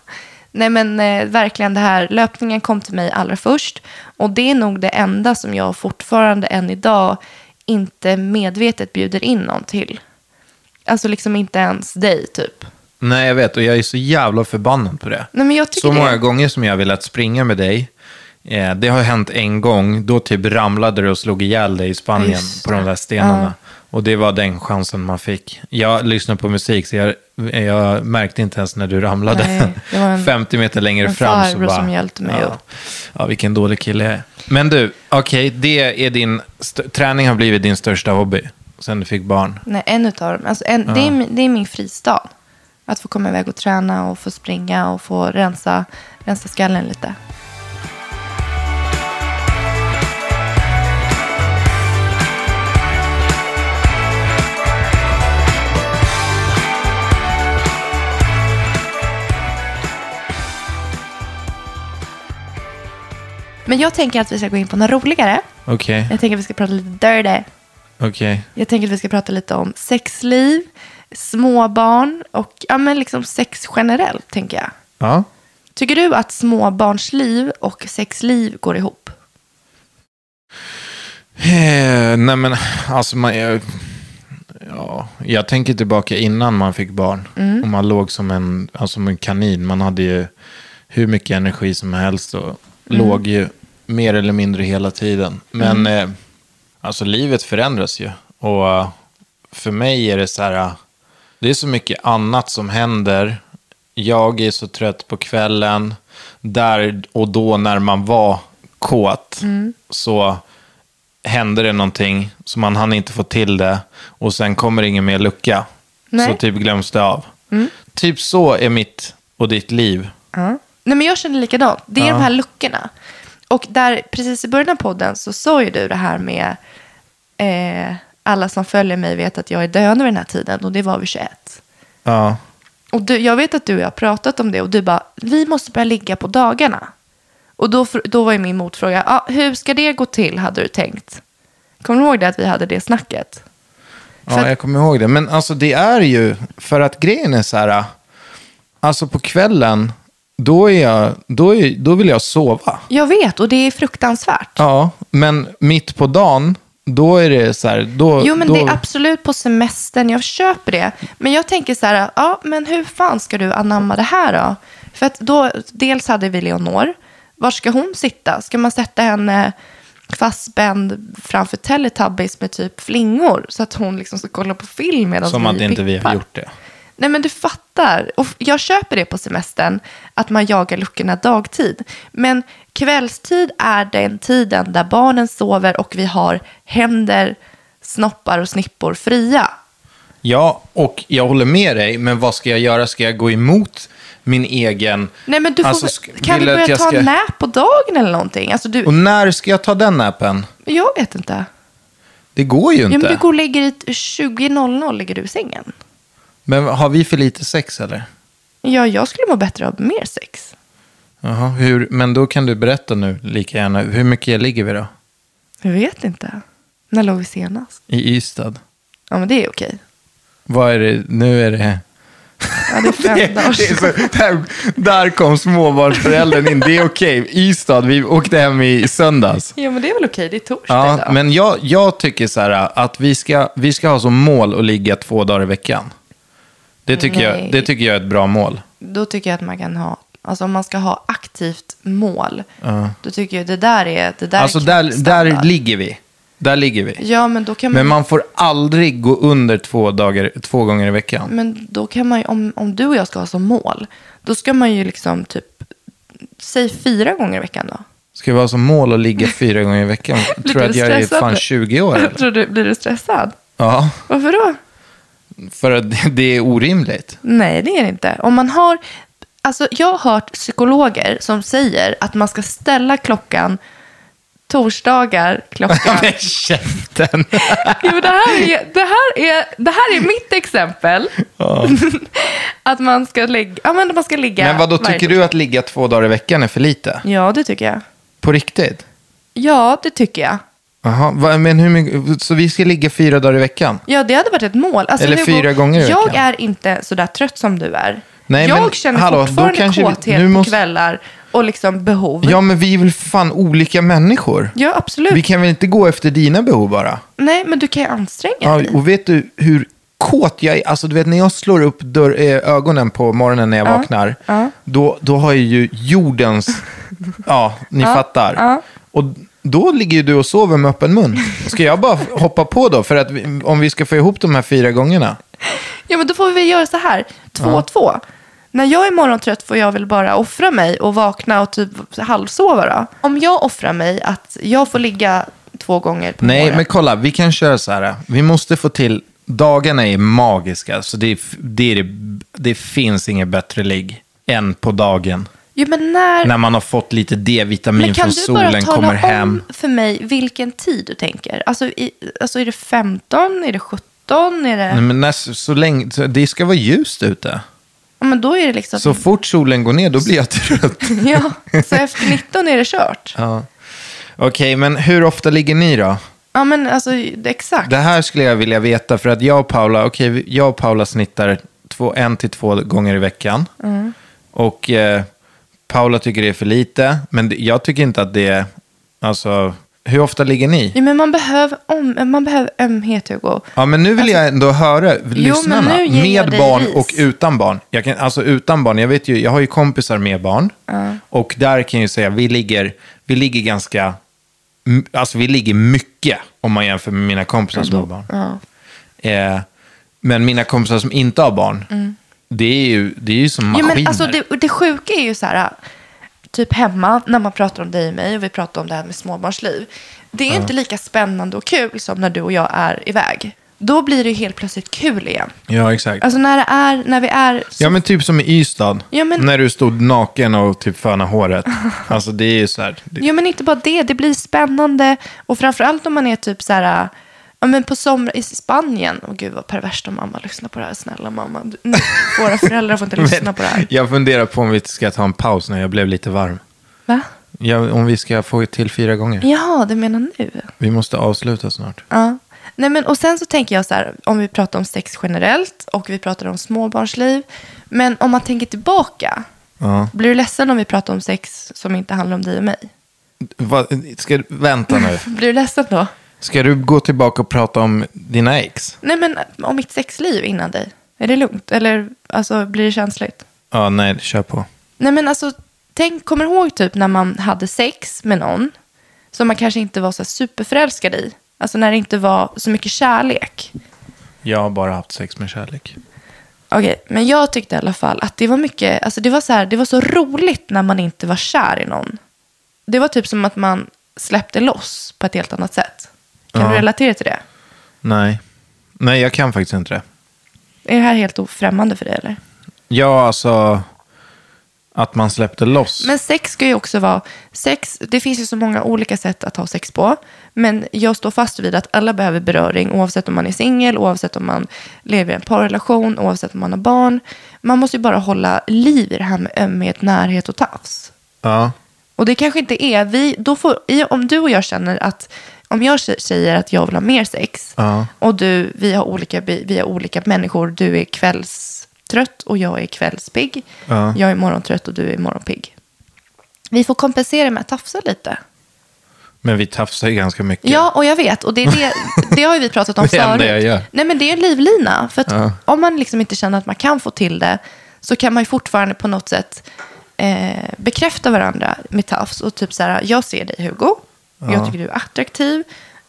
Speaker 2: Nej men eh, verkligen det här, löpningen kom till mig allra först. Och det är nog det enda som jag fortfarande än idag inte medvetet bjuder in någon till. Alltså liksom inte ens dig typ.
Speaker 3: Nej, jag vet. Och jag är så jävla förbannad på det.
Speaker 2: Nej men jag tycker
Speaker 3: Så många
Speaker 2: det.
Speaker 3: gånger som jag har velat springa med dig. Eh, det har hänt en gång. Då typ ramlade du och slog ihjäl dig i Spanien
Speaker 2: Just
Speaker 3: på de där stenarna. Och det var den chansen man fick. Jag lyssnade på musik, så jag, jag märkte inte ens när du ramlade.
Speaker 2: Nej, det var en-
Speaker 3: 50 meter längre
Speaker 2: en
Speaker 3: fram. så
Speaker 2: farbror
Speaker 3: bara,
Speaker 2: som hjälpte mig
Speaker 3: ja,
Speaker 2: upp.
Speaker 3: Ja, vilken dålig kille jag är. Men du, okej, det är din... St- träning har blivit din största hobby sen du fick barn.
Speaker 2: Nej en utav dem. Alltså en, det, är, min- det är min fristad. Att få komma iväg och träna och få springa och få rensa, rensa skallen lite. Men jag tänker att vi ska gå in på något roligare.
Speaker 3: Okej,
Speaker 2: Jag tänker att vi ska prata lite dirty.
Speaker 3: okej.
Speaker 2: Jag tänker att vi ska prata lite om sexliv, småbarn och ja, men liksom sex generellt, tänker jag.
Speaker 3: Ja.
Speaker 2: Tycker du att småbarnsliv och sexliv går ihop?
Speaker 3: Eh, nej men alltså man, jag, eh, Ja, jag tänker tillbaka innan man fick barn. Och man låg som en, alltså som en kanin. Man hade ju hur mycket energi som helst och låg ju mer eller mindre hela tiden. Men eh, alltså livet förändras ju. Och eh, för mig är det så här, eh, det är så mycket annat som händer. Jag är så trött på kvällen. Där och då när man var kåt så hände det någonting så man hann inte få till det och sen kommer ingen mer lucka.
Speaker 2: Nej.
Speaker 3: Så typ glöms det av. Typ så är mitt och ditt liv.
Speaker 2: Nej, men jag känner likadant. Det är de här luckorna. Och där, precis i början av podden så sa ju du det här med eh, alla som följer mig vet att jag är döende vid den här tiden och det var vid 21.
Speaker 3: Ja,
Speaker 2: Och du, jag vet att du och jag har pratat om det och du bara, vi måste börja ligga på dagarna. Och då, fr- då var ju min motfråga, ah, hur ska det gå till hade du tänkt? Kommer du ihåg det att vi hade det snacket? För
Speaker 3: ja
Speaker 2: att-
Speaker 3: jag kommer ihåg det. Men alltså det är ju, för att grejen är så här, alltså på kvällen, då, är jag, då, är, då vill jag sova.
Speaker 2: Jag vet och det är fruktansvärt.
Speaker 3: Ja, men mitt på dagen, då är det så här, då...
Speaker 2: Jo, men
Speaker 3: då,
Speaker 2: det är absolut på semestern. Jag köper det. Men jag tänker så här, ja, men hur fan ska du anamma det här då? För att då, dels hade vi Leonor. Var ska hon sitta? Ska man sätta henne fastspänd framför Teletubbies med typ flingor? Så att hon liksom ska kolla på film medan
Speaker 3: Som att inte vi
Speaker 2: pippar?
Speaker 3: har gjort det.
Speaker 2: Nej men du fattar. Och f- jag köper det på semestern, att man jagar luckorna dagtid. Men kvällstid är den tiden där barnen sover och vi har händer, snoppar och snippor fria.
Speaker 3: Ja, och jag håller med dig, men vad ska jag göra? Ska jag gå emot min egen...
Speaker 2: Nej men du får,
Speaker 3: Alltså,
Speaker 2: väl-
Speaker 3: sk-
Speaker 2: kan vi
Speaker 3: vill att
Speaker 2: börja
Speaker 3: jag
Speaker 2: ta
Speaker 3: ska-
Speaker 2: en nap på dagen eller någonting? Alltså du,
Speaker 3: Och när ska jag ta den appen?
Speaker 2: jag vet inte.
Speaker 3: Det går ju inte.
Speaker 2: Ja, men du går och lägger i 20.00 ligger du i sängen.
Speaker 3: Men har vi för lite sex eller?
Speaker 2: Ja, jag skulle må bättre av mer sex.
Speaker 3: Jaha, hur, men då kan du berätta nu lika gärna. Hur mycket ligger vi då?
Speaker 2: Jag vet inte. När låg vi senast?
Speaker 3: I Ystad?
Speaker 2: Ja men det är okej.
Speaker 3: Vad är det? Nu är det...
Speaker 2: Ja, det är fem dagar
Speaker 3: Det är så, där, där kom småbarnsföräldern in. Det är okej. Ystad, vi åkte hem i söndags.
Speaker 2: Ja men det är väl okej, det är torsdag
Speaker 3: Ja,
Speaker 2: idag.
Speaker 3: men jag, jag tycker så här att vi ska, vi ska ha som mål att ligga två dagar i veckan. Det tycker,
Speaker 2: Nej.
Speaker 3: jag, det tycker jag är ett bra mål.
Speaker 2: Då tycker jag att man kan ha, alltså om man ska ha aktivt mål, då tycker jag det där är, det där
Speaker 3: Alltså
Speaker 2: är
Speaker 3: där,
Speaker 2: knäppstandard.
Speaker 3: där ligger vi. Där ligger vi.
Speaker 2: Ja men då kan man,
Speaker 3: Men man får aldrig gå under två, dagar, två gånger i veckan.
Speaker 2: men då kan man ju, om, om du och jag ska ha som mål, då ska man ju liksom typ, säg fyra gånger i veckan då.
Speaker 3: Ska vi ha som mål att ligga fyra gånger i veckan?
Speaker 2: Blir
Speaker 3: Tror jag att
Speaker 2: du
Speaker 3: jag är
Speaker 2: stressad
Speaker 3: fan
Speaker 2: nu?
Speaker 3: 20 år eller?
Speaker 2: Tror du, blir du stressad?
Speaker 3: Ja,
Speaker 2: Varför då?
Speaker 3: för att det- det är orimligt.
Speaker 2: Nej, det är det inte. Om man har, alltså jag har hört psykologer som säger att man ska ställa klockan torsdagar klockan
Speaker 3: Men käften!
Speaker 2: Jo, men det, här är, det, här är, det här är mitt exempel. att man ska, lägga, ja, men man ska ligga
Speaker 3: Men vad då
Speaker 2: varje
Speaker 3: tycker du att ligga två dagar i veckan är för lite?
Speaker 2: torsdag. Ja, det tycker jag.
Speaker 3: På riktigt?
Speaker 2: Ja, det tycker jag.
Speaker 3: Jaha, vad- men hur mycket, så vi ska ligga fyra dagar i veckan?
Speaker 2: Ja, det hade varit ett mål. Alltså,
Speaker 3: Eller
Speaker 2: Hugo,
Speaker 3: fyra gånger i
Speaker 2: Jag
Speaker 3: veckan.
Speaker 2: är inte så där trött som du är.
Speaker 3: Nej,
Speaker 2: jag
Speaker 3: men
Speaker 2: känner
Speaker 3: hallå, då
Speaker 2: fortfarande
Speaker 3: kanske vi-
Speaker 2: kåthet
Speaker 3: nu
Speaker 2: på
Speaker 3: måste-
Speaker 2: kvällar och liksom behov.
Speaker 3: Ja, men vi är väl för fan olika människor?
Speaker 2: Ja, absolut.
Speaker 3: Vi kan väl inte gå efter dina behov bara?
Speaker 2: Nej, men du kan ju anstränga
Speaker 3: Ja,
Speaker 2: dig.
Speaker 3: och vet du hur kåt jag är? Alltså, du vet när jag slår upp dörr, eh, ögonen på morgonen när jag vaknar, Då, då har jag ju jordens... Ja, ni fattar. Och då ligger ju du och sover med öppen mun. Ska jag bara hoppa på då? För att vi, om vi ska få ihop de här fyra gångerna.
Speaker 2: Ja, men då får vi väl göra så här. Två och två. När jag är morgontrött får jag väl bara offra mig och vakna och typ halvsova då. Om jag offrar mig att jag får ligga två gånger på
Speaker 3: Nej, men
Speaker 2: morgonen.
Speaker 3: kolla, vi kan köra så här. Vi måste få till... Dagarna är magiska, så det, är f- det, är, det- det finns inget bättre ligg än på dagen.
Speaker 2: Jo, men när...
Speaker 3: När man har fått lite D-vitamin
Speaker 2: men kan
Speaker 3: från
Speaker 2: du bara
Speaker 3: solen, kommer
Speaker 2: tala
Speaker 3: hem.
Speaker 2: om för mig vilken tid du tänker? Alltså, i, alltså är det 15? Är det 17? Är det...
Speaker 3: Nej, men när, så, så länge, så, det ska vara ljust ute.
Speaker 2: Ja, men då är det liksom...
Speaker 3: Så fort solen går ner, då blir jag trött.
Speaker 2: Ja, så efter 19 är det kört. Ja,
Speaker 3: Ja. Okej, men hur ofta ligger ni då?
Speaker 2: men alltså det- exakt.
Speaker 3: Det här skulle jag vilja veta, för att jag och Paula, okej, vi- jag och Paula snittar två, en till två gånger i veckan.
Speaker 2: Mm.
Speaker 3: Och eh, Paula tycker det är för lite, men det- jag tycker inte att det är, alltså, Hur ofta ligger ni?
Speaker 2: Ja, men man behöver, om, man behöver ömhet, Hugo.
Speaker 3: Ja, men nu vill jag ändå höra lyssnarna.
Speaker 2: Alltså- nu ger jag
Speaker 3: med
Speaker 2: dig
Speaker 3: barn
Speaker 2: ris.
Speaker 3: och utan barn. Jag kan, alltså utan barn, jag, vet ju, jag har ju kompisar med barn. Och där kan jag ju säga, vi ligger, vi ligger ganska... m- Alltså vi ligger mycket om man jämför med mina kompisar som har barn. Eh, men mina kompisar som inte har barn, det, är ju, det är ju som
Speaker 2: Ja,
Speaker 3: maskiner.
Speaker 2: Mm. men alltså, det, det sjuka är ju så här, typ hemma när man pratar om dig och mig och vi pratar om det här med småbarnsliv. Det är inte lika spännande och kul som när du och jag är iväg. Då blir det ju helt plötsligt kul igen.
Speaker 3: Ja, exakt.
Speaker 2: Alltså när, det är, när vi är... Så,
Speaker 3: Ja men typ som i Ystad.
Speaker 2: Ja, men-
Speaker 3: När du stod naken och typ fönade håret. Alltså det är ju så här. Det...
Speaker 2: Ja, men inte bara det. Det blir spännande. Och framförallt om man är typ så här... Ja, men på sommar i Spanien. Åh gud vad perverst om mamma lyssnar på det här. Snälla mamma. Du, nu, våra föräldrar får inte lyssna på det här.
Speaker 3: Jag funderar på om vi ska ta en paus när jag blev lite varm.
Speaker 2: Va?
Speaker 3: Ja, om vi ska få till fyra gånger.
Speaker 2: Jaha, du menar nu?
Speaker 3: Vi måste avsluta snart.
Speaker 2: Ja. Nej, men, och sen så tänker jag så här, om vi pratar om sex generellt och vi pratar om småbarnsliv. Men om man tänker tillbaka,
Speaker 3: Ja.
Speaker 2: blir du ledsen om vi pratar om sex som inte handlar om dig och mig?
Speaker 3: Va, ska, vänta nu.
Speaker 2: Blir du ledsen då?
Speaker 3: Ska du gå tillbaka och prata om dina ex?
Speaker 2: Nej, men eh, om mitt sexliv innan dig. Är det lugnt? Eller alltså, blir det känsligt?
Speaker 3: Ja, nej, kör på.
Speaker 2: Nej, men alltså, tänk, kommer du ihåg typ när man hade sex med någon som man kanske inte var så här superförälskad i? Alltså när det inte var så mycket kärlek.
Speaker 3: Jag har bara haft sex med kärlek.
Speaker 2: Okej, men jag tyckte i alla fall att det var mycket, alltså det var så här, det var så roligt när man inte var kär i någon. Det var typ som att man släppte loss på ett helt annat sätt. Kan du
Speaker 3: Ja.
Speaker 2: relatera till det?
Speaker 3: Nej. Nej, jag kan faktiskt inte det.
Speaker 2: Är det här helt ofrämmande för dig eller?
Speaker 3: Ja, alltså... Att man släppte loss.
Speaker 2: Men sex ska ju också vara, sex, det finns ju så många olika sätt att ha sex på. Men jag står fast vid att alla behöver beröring oavsett om man är singel, oavsett om man lever i en parrelation, oavsett om man har barn. Man måste ju bara hålla liv i det här med ömhet, närhet och tafs.
Speaker 3: Ja.
Speaker 2: Och det kanske inte är, vi, då får, i- om du och jag känner att, om jag sä- säger att jag vill ha mer sex
Speaker 3: Ja.
Speaker 2: och du, vi, har olika, bi- vi är olika människor, du är kvällstrött och jag är kvällspigg.
Speaker 3: Ja.
Speaker 2: Jag är morgontrött och du är morgonpigg. Vi får kompensera med att tafsa lite.
Speaker 3: Men vi tafsar ju ganska mycket.
Speaker 2: Ja, och jag vet. Och det, är det, det har ju vi pratat om
Speaker 3: Det är det
Speaker 2: förut.
Speaker 3: enda jag gör.
Speaker 2: Nej, men det är en livlina. För att
Speaker 3: Ja.
Speaker 2: om man liksom inte känner att man kan få till det så kan man ju fortfarande på något sätt eh, bekräfta varandra med tafs. Och typ så här, jag ser dig Hugo. Jag tycker du är attraktiv.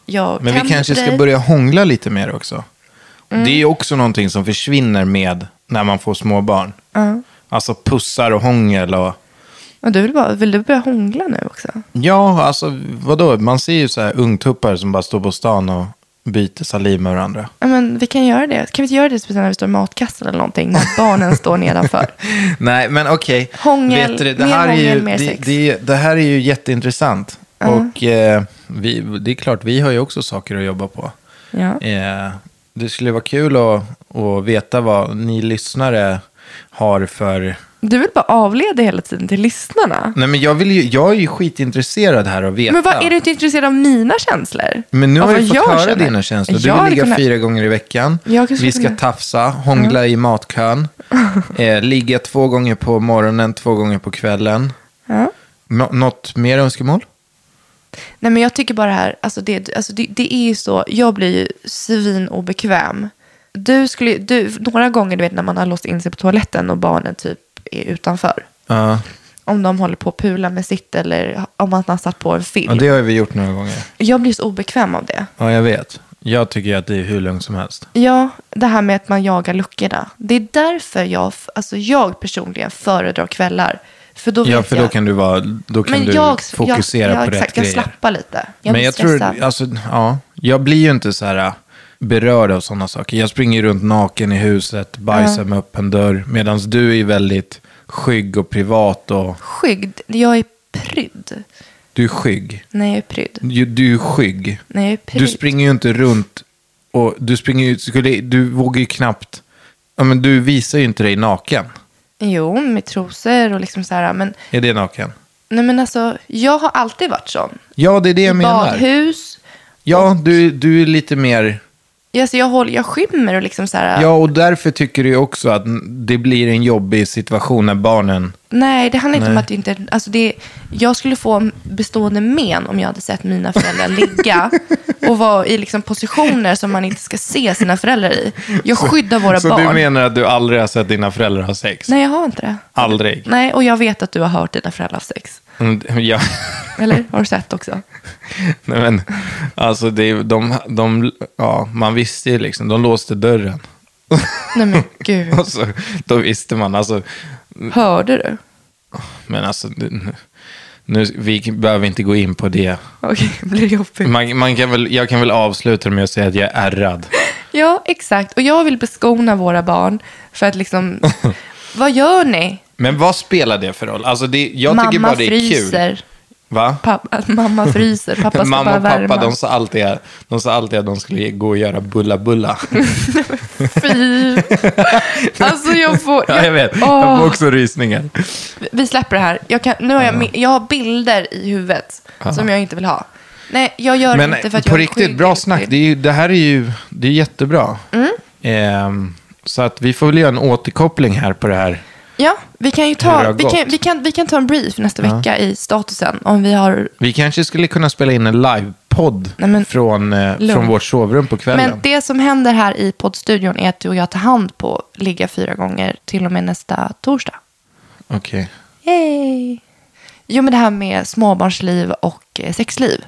Speaker 2: Jag
Speaker 3: Men
Speaker 2: kan
Speaker 3: vi kanske
Speaker 2: dig. Mm.
Speaker 3: ska börja hångla lite mer också. Det är ju också någonting som försvinner med när man får små barn. Alltså pussar och hångel och...
Speaker 2: Och du vill, bara, vill du börja hångla nu också?
Speaker 3: Ja, alltså vadå? Man ser ju så här ungtuppar som bara står på stan och byter saliv med varandra.
Speaker 2: Ja, men vi kan göra det. Kan vi inte göra det speciellt när vi står i matkassen eller någonting? När barnen står nedanför.
Speaker 3: Nej, men okej.
Speaker 2: Hångel,
Speaker 3: Vet du
Speaker 2: mer
Speaker 3: är
Speaker 2: hångel,
Speaker 3: ju,
Speaker 2: mer
Speaker 3: det,
Speaker 2: sex.
Speaker 3: det, det här är ju jätteintressant. Och eh, vi, det är klart, vi har ju också saker att jobba på.
Speaker 2: Ja.
Speaker 3: Eh, det skulle vara kul att, att veta vad ni lyssnare har för...
Speaker 2: Du vill bara avleda hela tiden till lyssnarna.
Speaker 3: Nej, men jag, vill ju, jag är ju skitintresserad här att veta.
Speaker 2: Men vad, är du inte intresserad av mina känslor?
Speaker 3: Men nu
Speaker 2: Av
Speaker 3: har
Speaker 2: vad
Speaker 3: vi fått
Speaker 2: jag
Speaker 3: höra
Speaker 2: känner?
Speaker 3: dina känslor. Du
Speaker 2: Jag hade
Speaker 3: vill ligga
Speaker 2: kunnat-
Speaker 3: fyra gånger i veckan.
Speaker 2: Jag skulle
Speaker 3: Vi ska
Speaker 2: kunna-
Speaker 3: tafsa, hångla i matkön, eh, ligga två gånger på morgonen, två gånger på kvällen.
Speaker 2: Ja.
Speaker 3: Nå- något mer önskemål?
Speaker 2: Nej, men jag tycker bara det här, alltså det, alltså det, det är ju så, jag blir ju svinobekväm. Du skulle, du, några gånger du vet när man har låst in sig på toaletten och barnen typ är utanför.
Speaker 3: Ja,
Speaker 2: Om de håller på att pula med sitt eller om man har satt på en film.
Speaker 3: ja, det har vi gjort några gånger.
Speaker 2: Jag blir så obekväm av det.
Speaker 3: Ja, jag vet. Jag tycker ju att det är hur lugnt som helst.
Speaker 2: Ja, det här med att man jagar luckorna. Det är därför jag, f- alltså jag personligen föredrar kvällar. För då vet
Speaker 3: Ja, för då
Speaker 2: jag.
Speaker 3: kan du, vara, då kan
Speaker 2: men
Speaker 3: du
Speaker 2: jag,
Speaker 3: fokusera
Speaker 2: jag, ja,
Speaker 3: på
Speaker 2: exakt,
Speaker 3: rätt grejer.
Speaker 2: Jag slappar lite. Jag
Speaker 3: men
Speaker 2: blir
Speaker 3: jag tror,
Speaker 2: stressad.
Speaker 3: alltså, ja, jag blir ju inte så här äh, berörd av sådana saker. Jag springer ju runt naken i huset, bajsar med öppen dörr, medan du är ju väldigt skygg och privat och
Speaker 2: Skygg, jag är prydd.
Speaker 3: du är skygg.
Speaker 2: Nej, jag är prydd.
Speaker 3: Du, du är skygg.
Speaker 2: Nej, jag är
Speaker 3: Mm. Du
Speaker 2: prydd.
Speaker 3: springer ju inte runt och du springer ju, skulle, du vågar ju knappt, ja men du visar ju inte dig naken.
Speaker 2: Jo, med trosor och liksom så här. Men,
Speaker 3: Är det naken?
Speaker 2: nej, men alltså, jag har alltid varit sån.
Speaker 3: Ja, det är det jag menar.
Speaker 2: Badhus.
Speaker 3: Ja, du, du är lite mer
Speaker 2: Ja, så jag, håller, jag skymmer och liksom så här...
Speaker 3: Ja, och därför tycker du också att det blir en jobbig situation när barnen...
Speaker 2: Nej, det handlar inte om
Speaker 3: Nej.
Speaker 2: att det inte... Alltså det, jag skulle få bestående men om jag hade sett mina föräldrar ligga och vara i liksom positioner som man inte ska se sina föräldrar i. Jag skyddar våra
Speaker 3: Så
Speaker 2: barn.
Speaker 3: du menar att du aldrig har sett dina föräldrar ha sex?
Speaker 2: Nej, jag har inte det.
Speaker 3: Aldrig?
Speaker 2: Nej, och jag vet att du har hört dina föräldrar ha sex.
Speaker 3: Mm, Ja.
Speaker 2: Eller? Har du sett också?
Speaker 3: Nej, men, alltså, det, är- de, de, ja, man visste ju liksom, de låste dörren.
Speaker 2: Nej men gud.
Speaker 3: Och så, då visste man, alltså,
Speaker 2: Hörde du?
Speaker 3: men alltså, det- nu, vi behöver inte gå in på det.
Speaker 2: Okej, blir det jobbigt?
Speaker 3: Man, man kan väl, jag kan väl avsluta med att säga att jag är ärrad.
Speaker 2: Ja, exakt. Och jag vill beskona våra barn för att liksom... Vad gör ni?
Speaker 3: Men vad spelar det för roll? Alltså, det, jag tycker
Speaker 2: mamma
Speaker 3: bara det är
Speaker 2: fryser.
Speaker 3: kul. Va?
Speaker 2: Pappa, att mamma fryser. Pappa ska
Speaker 3: Mamma
Speaker 2: bara
Speaker 3: och pappa,
Speaker 2: värma.
Speaker 3: de sa, alltid, de sa alltid att de skulle gå och göra bulla-bulla.
Speaker 2: Fy. Alltså jag får...
Speaker 3: Ja, jag vet, jag
Speaker 2: Åh,
Speaker 3: får också rysningar.
Speaker 2: vi släpper det här. Jag, kan, nu har jag, mi- jag har bilder i huvudet som jag inte vill ha. Nej, jag gör
Speaker 3: Men
Speaker 2: det inte för att
Speaker 3: på
Speaker 2: jag är
Speaker 3: riktigt,
Speaker 2: skygg
Speaker 3: bra
Speaker 2: eller
Speaker 3: snack.
Speaker 2: skygg.
Speaker 3: Det, är ju, det här är ju det är jättebra.
Speaker 2: Mm.
Speaker 3: Ehm, så att vi får väl göra en återkoppling här på det här.
Speaker 2: Ja, vi kan ju
Speaker 3: Hur det
Speaker 2: ta,
Speaker 3: har
Speaker 2: vi kan,
Speaker 3: gått.
Speaker 2: vi, kan, vi kan ta en brief nästa vecka i statusen om vi har...
Speaker 3: Vi kanske skulle kunna spela in en livepodd
Speaker 2: Nej, men-
Speaker 3: från, eh,
Speaker 2: Lugn.
Speaker 3: från vårt sovrum på kvällen.
Speaker 2: Men det som händer här i poddstudion är att du och jag tar hand på ligga fyra gånger till och med nästa torsdag.
Speaker 3: Okej.
Speaker 2: Yay! Jo, men det här med småbarnsliv och eh, sexliv.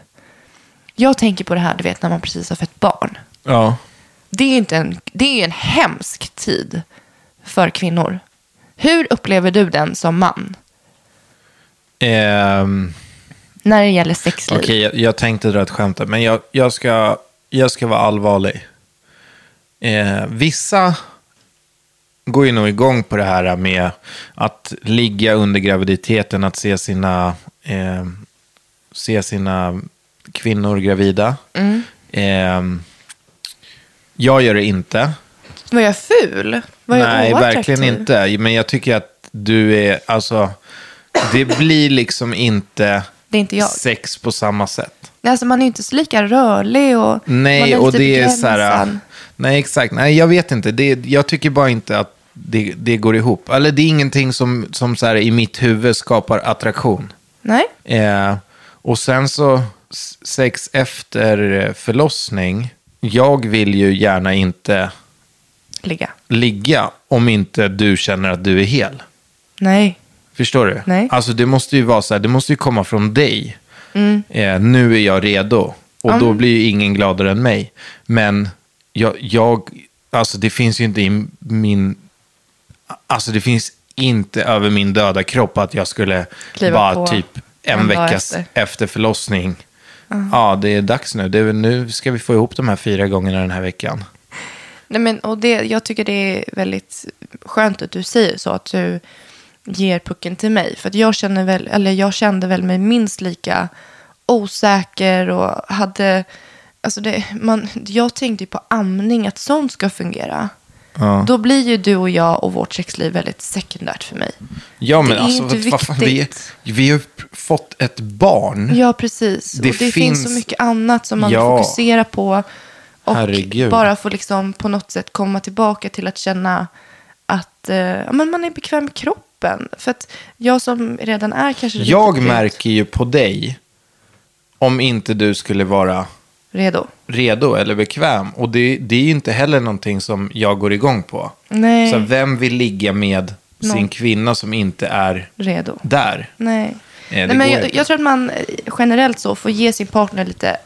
Speaker 2: Jag tänker på det här, du vet, när man precis har fött barn.
Speaker 3: Ja.
Speaker 2: Det är, inte en, det är en hemsk tid för kvinnor. Hur upplever du den som man
Speaker 3: Ehm,
Speaker 2: när det gäller sexliv?
Speaker 3: Okej, jag, jag tänkte dra ett skämt där, men jag, jag, ska, jag ska vara allvarlig. Eh, vissa går ju nog igång på det här med att ligga under graviditeten, att se sina, eh, se sina kvinnor gravida. Eh, jag gör det inte.
Speaker 2: Var jag ful? Var jag
Speaker 3: Nej,
Speaker 2: oattraktiv?
Speaker 3: verkligen inte. Men jag tycker att du är, alltså, det blir liksom inte,
Speaker 2: Det är inte jag.
Speaker 3: sex på samma sätt.
Speaker 2: Nej, alltså, man är ju inte så lika rörlig och man
Speaker 3: Nej,
Speaker 2: är
Speaker 3: och
Speaker 2: lite
Speaker 3: det är så här... äh,
Speaker 2: begränsad.
Speaker 3: Nej, exakt. Nej, jag vet inte. Det, jag tycker bara inte att det, det går ihop. Eller det är ingenting som, som så här, i mitt huvud skapar attraktion.
Speaker 2: Nej,
Speaker 3: Eh, och sen så s- sex efter eh, förlossning. Jag vill ju gärna inte
Speaker 2: ligga.
Speaker 3: ligga om inte du känner att du är hel.
Speaker 2: Nej.
Speaker 3: Förstår du?
Speaker 2: Nej.
Speaker 3: Alltså det måste ju vara så här, det måste ju komma från dig.
Speaker 2: Mm.
Speaker 3: Eh, nu är jag redo. Och då blir ju ingen gladare än mig. Men jag, jag, alltså det finns ju inte i min, alltså det finns inte över min döda kropp att jag skulle
Speaker 2: Kliva på
Speaker 3: bara typ en,
Speaker 2: en dag
Speaker 3: vecka
Speaker 2: efter.
Speaker 3: efter. förlossning. Ja, det är dags nu. Det är, väl- nu ska vi få ihop de här fyra gångerna den här veckan.
Speaker 2: Nej, men, och det, jag tycker det är väldigt skönt att du säger så, att du ger pucken till mig. För att jag, känner väl, eller jag kände väl mig minst lika osäker och hade... Alltså det, man, jag tänkte ju på amning, att sånt ska fungera. Då blir ju du och jag och vårt sexliv väldigt sekundärt för mig.
Speaker 3: Ja,
Speaker 2: Det
Speaker 3: men
Speaker 2: är
Speaker 3: alltså,
Speaker 2: inte
Speaker 3: vad fan, vi,
Speaker 2: viktigt.
Speaker 3: vi har ju fått ett barn.
Speaker 2: Ja, precis.
Speaker 3: Det
Speaker 2: och det finns så
Speaker 3: finns-
Speaker 2: mycket annat som man
Speaker 3: Ja.
Speaker 2: fokuserar på. Och
Speaker 3: Herregud.
Speaker 2: bara få liksom på något sätt komma tillbaka till att känna att eh, ja, men man är bekväm med kroppen. För att jag som redan är kanske riktigt
Speaker 3: Jag
Speaker 2: redo-
Speaker 3: märker ju på dig om inte du skulle vara
Speaker 2: redo.
Speaker 3: redo eller bekväm. Och det, det är ju inte heller någonting som jag går igång på.
Speaker 2: Nej.
Speaker 3: Så vem vill ligga med sin
Speaker 2: Någon.
Speaker 3: kvinna som inte är
Speaker 2: Redo.
Speaker 3: där?
Speaker 2: Nej.
Speaker 3: Eh,
Speaker 2: Nej
Speaker 3: det
Speaker 2: men
Speaker 3: går
Speaker 2: jag,
Speaker 3: inte.
Speaker 2: jag tror att man eh, generellt så får ge sin partner lite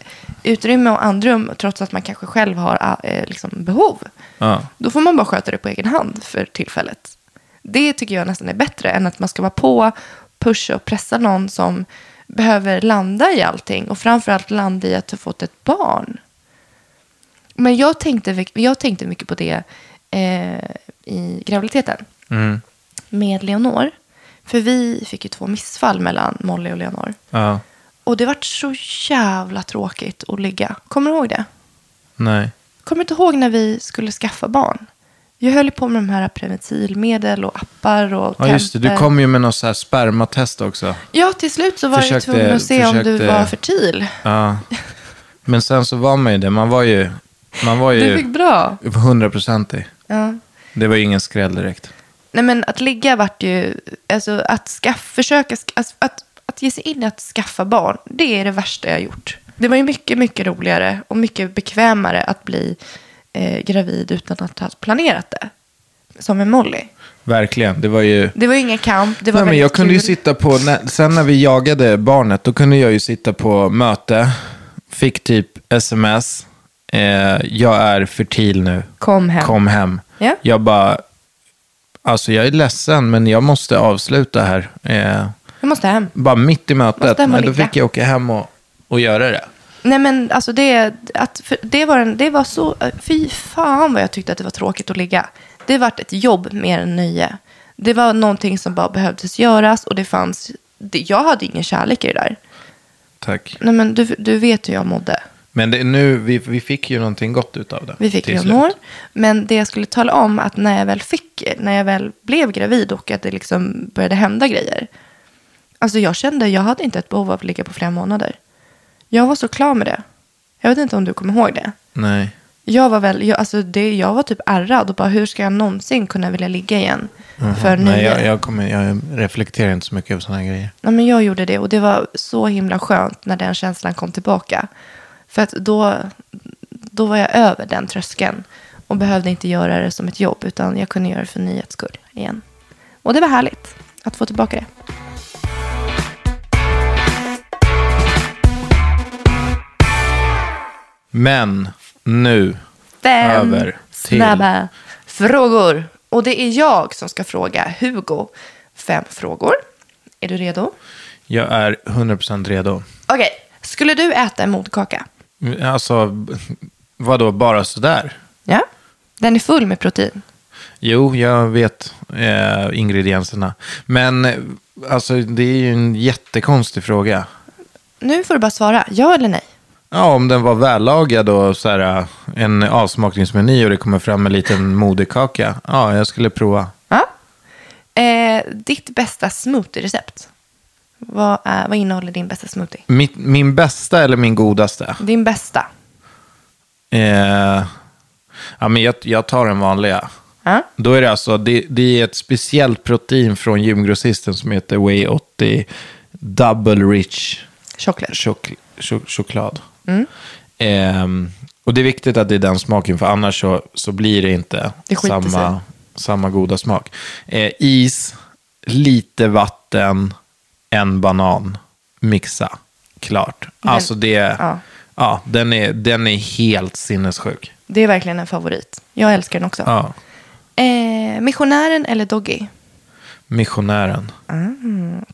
Speaker 2: utrymme och andrum trots att man kanske själv har eh, liksom, behov.
Speaker 3: Ja.
Speaker 2: Då får man bara sköta det på egen hand för tillfället. Det tycker jag nästan är bättre än att man ska vara på, pusha och pressa någon som behöver landa i allting och framförallt landa i att ha fått ett barn. Men jag tänkte, jag tänkte mycket på det eh, i graviditeten med Leonor. För vi fick ju två missfall mellan Molly och Leonor.
Speaker 3: Ja.
Speaker 2: Och det vart så jävla tråkigt att ligga. Kommer du ihåg det?
Speaker 3: Nej.
Speaker 2: Kommer du inte ihåg när vi skulle skaffa barn? Jag höll ju på med de här preventivmedel och appar och
Speaker 3: Ja, just det. Du
Speaker 2: temper.
Speaker 3: kom ju med något så här spermatest också.
Speaker 2: Ja, till slut så var jag ju
Speaker 3: Försökte-
Speaker 2: tvungen att se om du
Speaker 3: försökte-
Speaker 2: var fertil.
Speaker 3: Ja. Men sen så var man ju det. Man var ju Man var
Speaker 2: Du
Speaker 3: ju
Speaker 2: fick bra.
Speaker 3: 100% i.
Speaker 2: Ja.
Speaker 3: Det var ju ingen skräll direkt.
Speaker 2: Nej, men att ligga vart ju... Alltså att skaff, försöka... sk- Alltså, att, att ge sig in i att skaffa barn, det är det värsta jag har gjort. Det var ju mycket, mycket roligare och mycket bekvämare att bli eh, gravid utan att ha planerat det. Som med Molly.
Speaker 3: Verkligen. Det var ju...
Speaker 2: Det var ju ingen kamp, det var
Speaker 3: Nej, men jag
Speaker 2: väldigt
Speaker 3: kunde ju
Speaker 2: kul.
Speaker 3: sitta på, när, sen när vi jagade barnet, då kunde jag ju sitta på möte, fick typ sms, eh, jag är fertil nu,
Speaker 2: Kom hem.
Speaker 3: kom hem.
Speaker 2: Ja.
Speaker 3: Jag bara, alltså jag är ledsen men jag måste avsluta här. Eh,
Speaker 2: Jag måste hem.
Speaker 3: bara mitt i mötet,
Speaker 2: Måste hem och
Speaker 3: men då
Speaker 2: ligga.
Speaker 3: fick jag åka hem och, och göra det.
Speaker 2: Nej men alltså det, att, för det, var en, det var så, fy fan vad jag tyckte att det var tråkigt att ligga. Det vart ett jobb mer än nöje. Det var någonting som bara behövdes göras och det fanns, det, jag hade ingen kärlek i det där.
Speaker 3: Tack.
Speaker 2: Nej men du, du vet hur jag mådde.
Speaker 3: Men det, nu, vi, vi fick ju någonting gott utav det.
Speaker 2: Vi fick
Speaker 3: till
Speaker 2: Leonor.
Speaker 3: slut.
Speaker 2: Men det jag skulle tala om att när jag väl fick, när jag väl blev gravid och att det liksom började hända grejer. Alltså jag kände, jag hade inte ett behov av att ligga på flera månader. Jag var så klar med det. Jag vet inte om du kommer ihåg det.
Speaker 3: Nej.
Speaker 2: Jag var väl, jag, alltså det, jag var typ ärrad och bara hur ska jag någonsin kunna vilja ligga igen? För
Speaker 3: Mhm. Nej,
Speaker 2: nio.
Speaker 3: jag, jag, kommer, jag reflekterar inte så mycket över sådana grejer.
Speaker 2: Nej, men jag gjorde det och det var så himla skönt när den känslan kom tillbaka. För att då, då var jag över den tröskeln och behövde inte göra det som ett jobb utan jag kunde göra det för nyhets skull igen. Och det var härligt att få tillbaka det.
Speaker 3: Men nu,
Speaker 2: Fem
Speaker 3: Över till-
Speaker 2: snabba frågor. Och det är jag som ska fråga Hugo fem frågor. Är du redo?
Speaker 3: jag är 100% redo.
Speaker 2: Okej, skulle du äta en moderkaka?
Speaker 3: Alltså, vadå, bara sådär?
Speaker 2: Ja. Den är full med protein.
Speaker 3: Jo, jag vet eh, ingredienserna. Men eh, alltså, det är ju en jättekonstig fråga.
Speaker 2: Nu får du bara svara ja eller nej.
Speaker 3: Ja, om den var vällagad och så här, eh, en avsmakningsmeny och det kommer fram en liten moderkaka. Ja, jag skulle prova.
Speaker 2: Ja. Eh, ditt bästa smoothie-recept? Vad, är, vad innehåller din bästa smoothie?
Speaker 3: Mitt, min bästa eller min godaste?
Speaker 2: Din bästa?
Speaker 3: Eh, ja, men jag, jag tar den vanliga.
Speaker 2: Ja.
Speaker 3: Då är det alltså, det, det är ett speciellt protein från gymgrossisten som heter Way 80 Double Rich
Speaker 2: Choklad.
Speaker 3: chok- chok- choklad.
Speaker 2: Mm.
Speaker 3: Ehm, och det är viktigt att det är den smaken, för annars så, så blir det inte
Speaker 2: Det skiter
Speaker 3: samma, samma goda smak. Eh, is, lite vatten, en banan, mixa, klart. alltså det,
Speaker 2: ja.
Speaker 3: ja. den, är, den är helt sinnessjuk.
Speaker 2: Det är verkligen en favorit. Jag älskar den också.
Speaker 3: Ja.
Speaker 2: Eh, missionären eller Doggy?
Speaker 3: Missionären.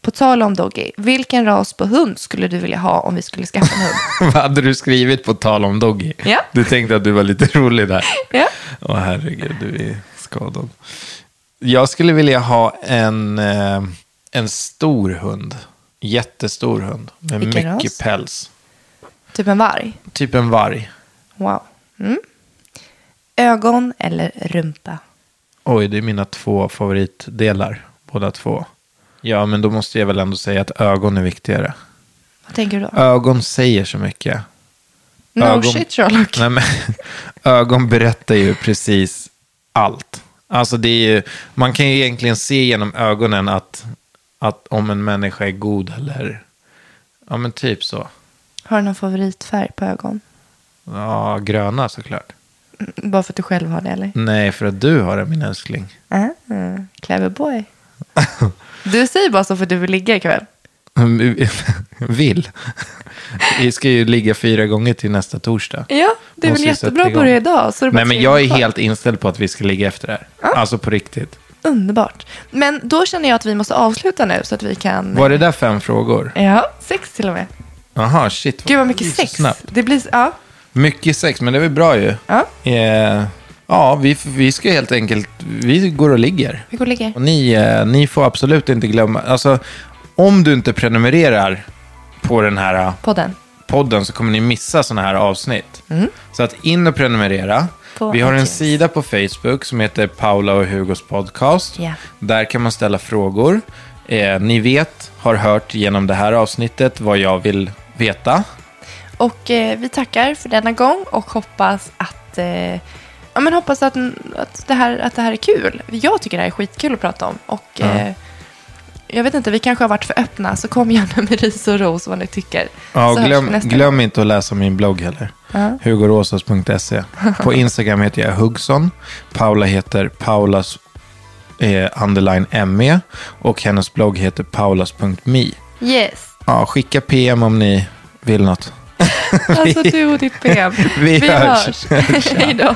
Speaker 2: På tal om Doggy, vilken ras på hund skulle du vilja ha om vi skulle skaffa en hund?
Speaker 3: Vad hade du skrivit på tal om Doggy?
Speaker 2: Ja.
Speaker 3: Du tänkte att du var lite rolig där.
Speaker 2: Ja.
Speaker 3: Åh herregud, du är skadad. Jag skulle vilja ha en, eh, en stor hund. Jättestor hund. Med
Speaker 2: Vilken
Speaker 3: mycket
Speaker 2: ras?
Speaker 3: päls.
Speaker 2: typ en varg?
Speaker 3: Typ en varg.
Speaker 2: Wow. Mm. Ögon eller rumpa?
Speaker 3: Oj, det är mina två favoritdelar. Båda två. Ja, men då måste jag väl ändå säga att ögon är viktigare.
Speaker 2: Vad tänker du då?
Speaker 3: Ögon säger så mycket.
Speaker 2: no
Speaker 3: ögon-
Speaker 2: shit Sherlock.
Speaker 3: Nej, men, ögon berättar ju precis allt. Alltså det är ju, man kan ju egentligen se genom ögonen att, att om en människa är god eller... Ja, men typ så.
Speaker 2: Har du någon favoritfärg på ögon?
Speaker 3: Ja, gröna såklart.
Speaker 2: Bara för att du själv har det eller?
Speaker 3: Nej, för att du har det, min älskling.
Speaker 2: Ah, clever boy. Du säger bara så för att du vill ligga ikväll.
Speaker 3: Vill. Vi ska ju ligga fyra gånger till nästa torsdag.
Speaker 2: Ja, det är väl
Speaker 3: Måste ju sätta
Speaker 2: jättebra att
Speaker 3: igång.
Speaker 2: börja idag. Så det är bara
Speaker 3: Nej, men
Speaker 2: tre
Speaker 3: jag är
Speaker 2: dagar kvar.
Speaker 3: helt inställd på att vi ska ligga efter det här. Alltså på riktigt.
Speaker 2: Underbart. Men då känner jag att vi måste avsluta nu så att vi kan...
Speaker 3: Var det där fem frågor?
Speaker 2: Ja, sex till och med.
Speaker 3: Aha, shit.
Speaker 2: Eh. Gud vad mycket
Speaker 3: Det gick så
Speaker 2: sex.
Speaker 3: snabbt.
Speaker 2: Det blir... Ja.
Speaker 3: Mycket sex, men det är väl bra ju.
Speaker 2: Ja.
Speaker 3: Eh, ja, vi, vi ska helt enkelt... Vi går och ligger.
Speaker 2: Vi går och ligger.
Speaker 3: Och ni, eh, ni får absolut inte glömma... Alltså, om du inte prenumererar på den här eh,
Speaker 2: Podden.
Speaker 3: podden så kommer ni missa sådana här avsnitt. Så att in och prenumerera.
Speaker 2: Mm. På
Speaker 3: vi har en
Speaker 2: iTunes.
Speaker 3: sida på Facebook som heter Paula och Hugos podcast.
Speaker 2: Ja.
Speaker 3: Där kan man ställa frågor. Eh, ni vet, har hört genom det här avsnittet vad jag vill veta.
Speaker 2: Och eh, vi tackar för denna gång och hoppas att, eh, ja, men hoppas att, att, det här, att det här är kul. Jag tycker det här är skitkul att prata om. Och, eh, jag vet inte, vi kanske har varit för öppna, så kom gärna med ris och ros vad ni tycker.
Speaker 3: Ja,
Speaker 2: så hörs
Speaker 3: och
Speaker 2: vi
Speaker 3: glöm,
Speaker 2: nästa gång.
Speaker 3: glöm inte att läsa min blogg heller.
Speaker 2: Ja.
Speaker 3: Hugoråsas.se. På Instagram heter jag Hugson. Paula heter Paulas eh, underline ME. Och hennes blogg heter paulas.me.
Speaker 2: Yes,
Speaker 3: Ja, skicka PM om ni vill något.
Speaker 2: alltså du och ditt PM.
Speaker 3: Vi hörs.
Speaker 2: Hej då.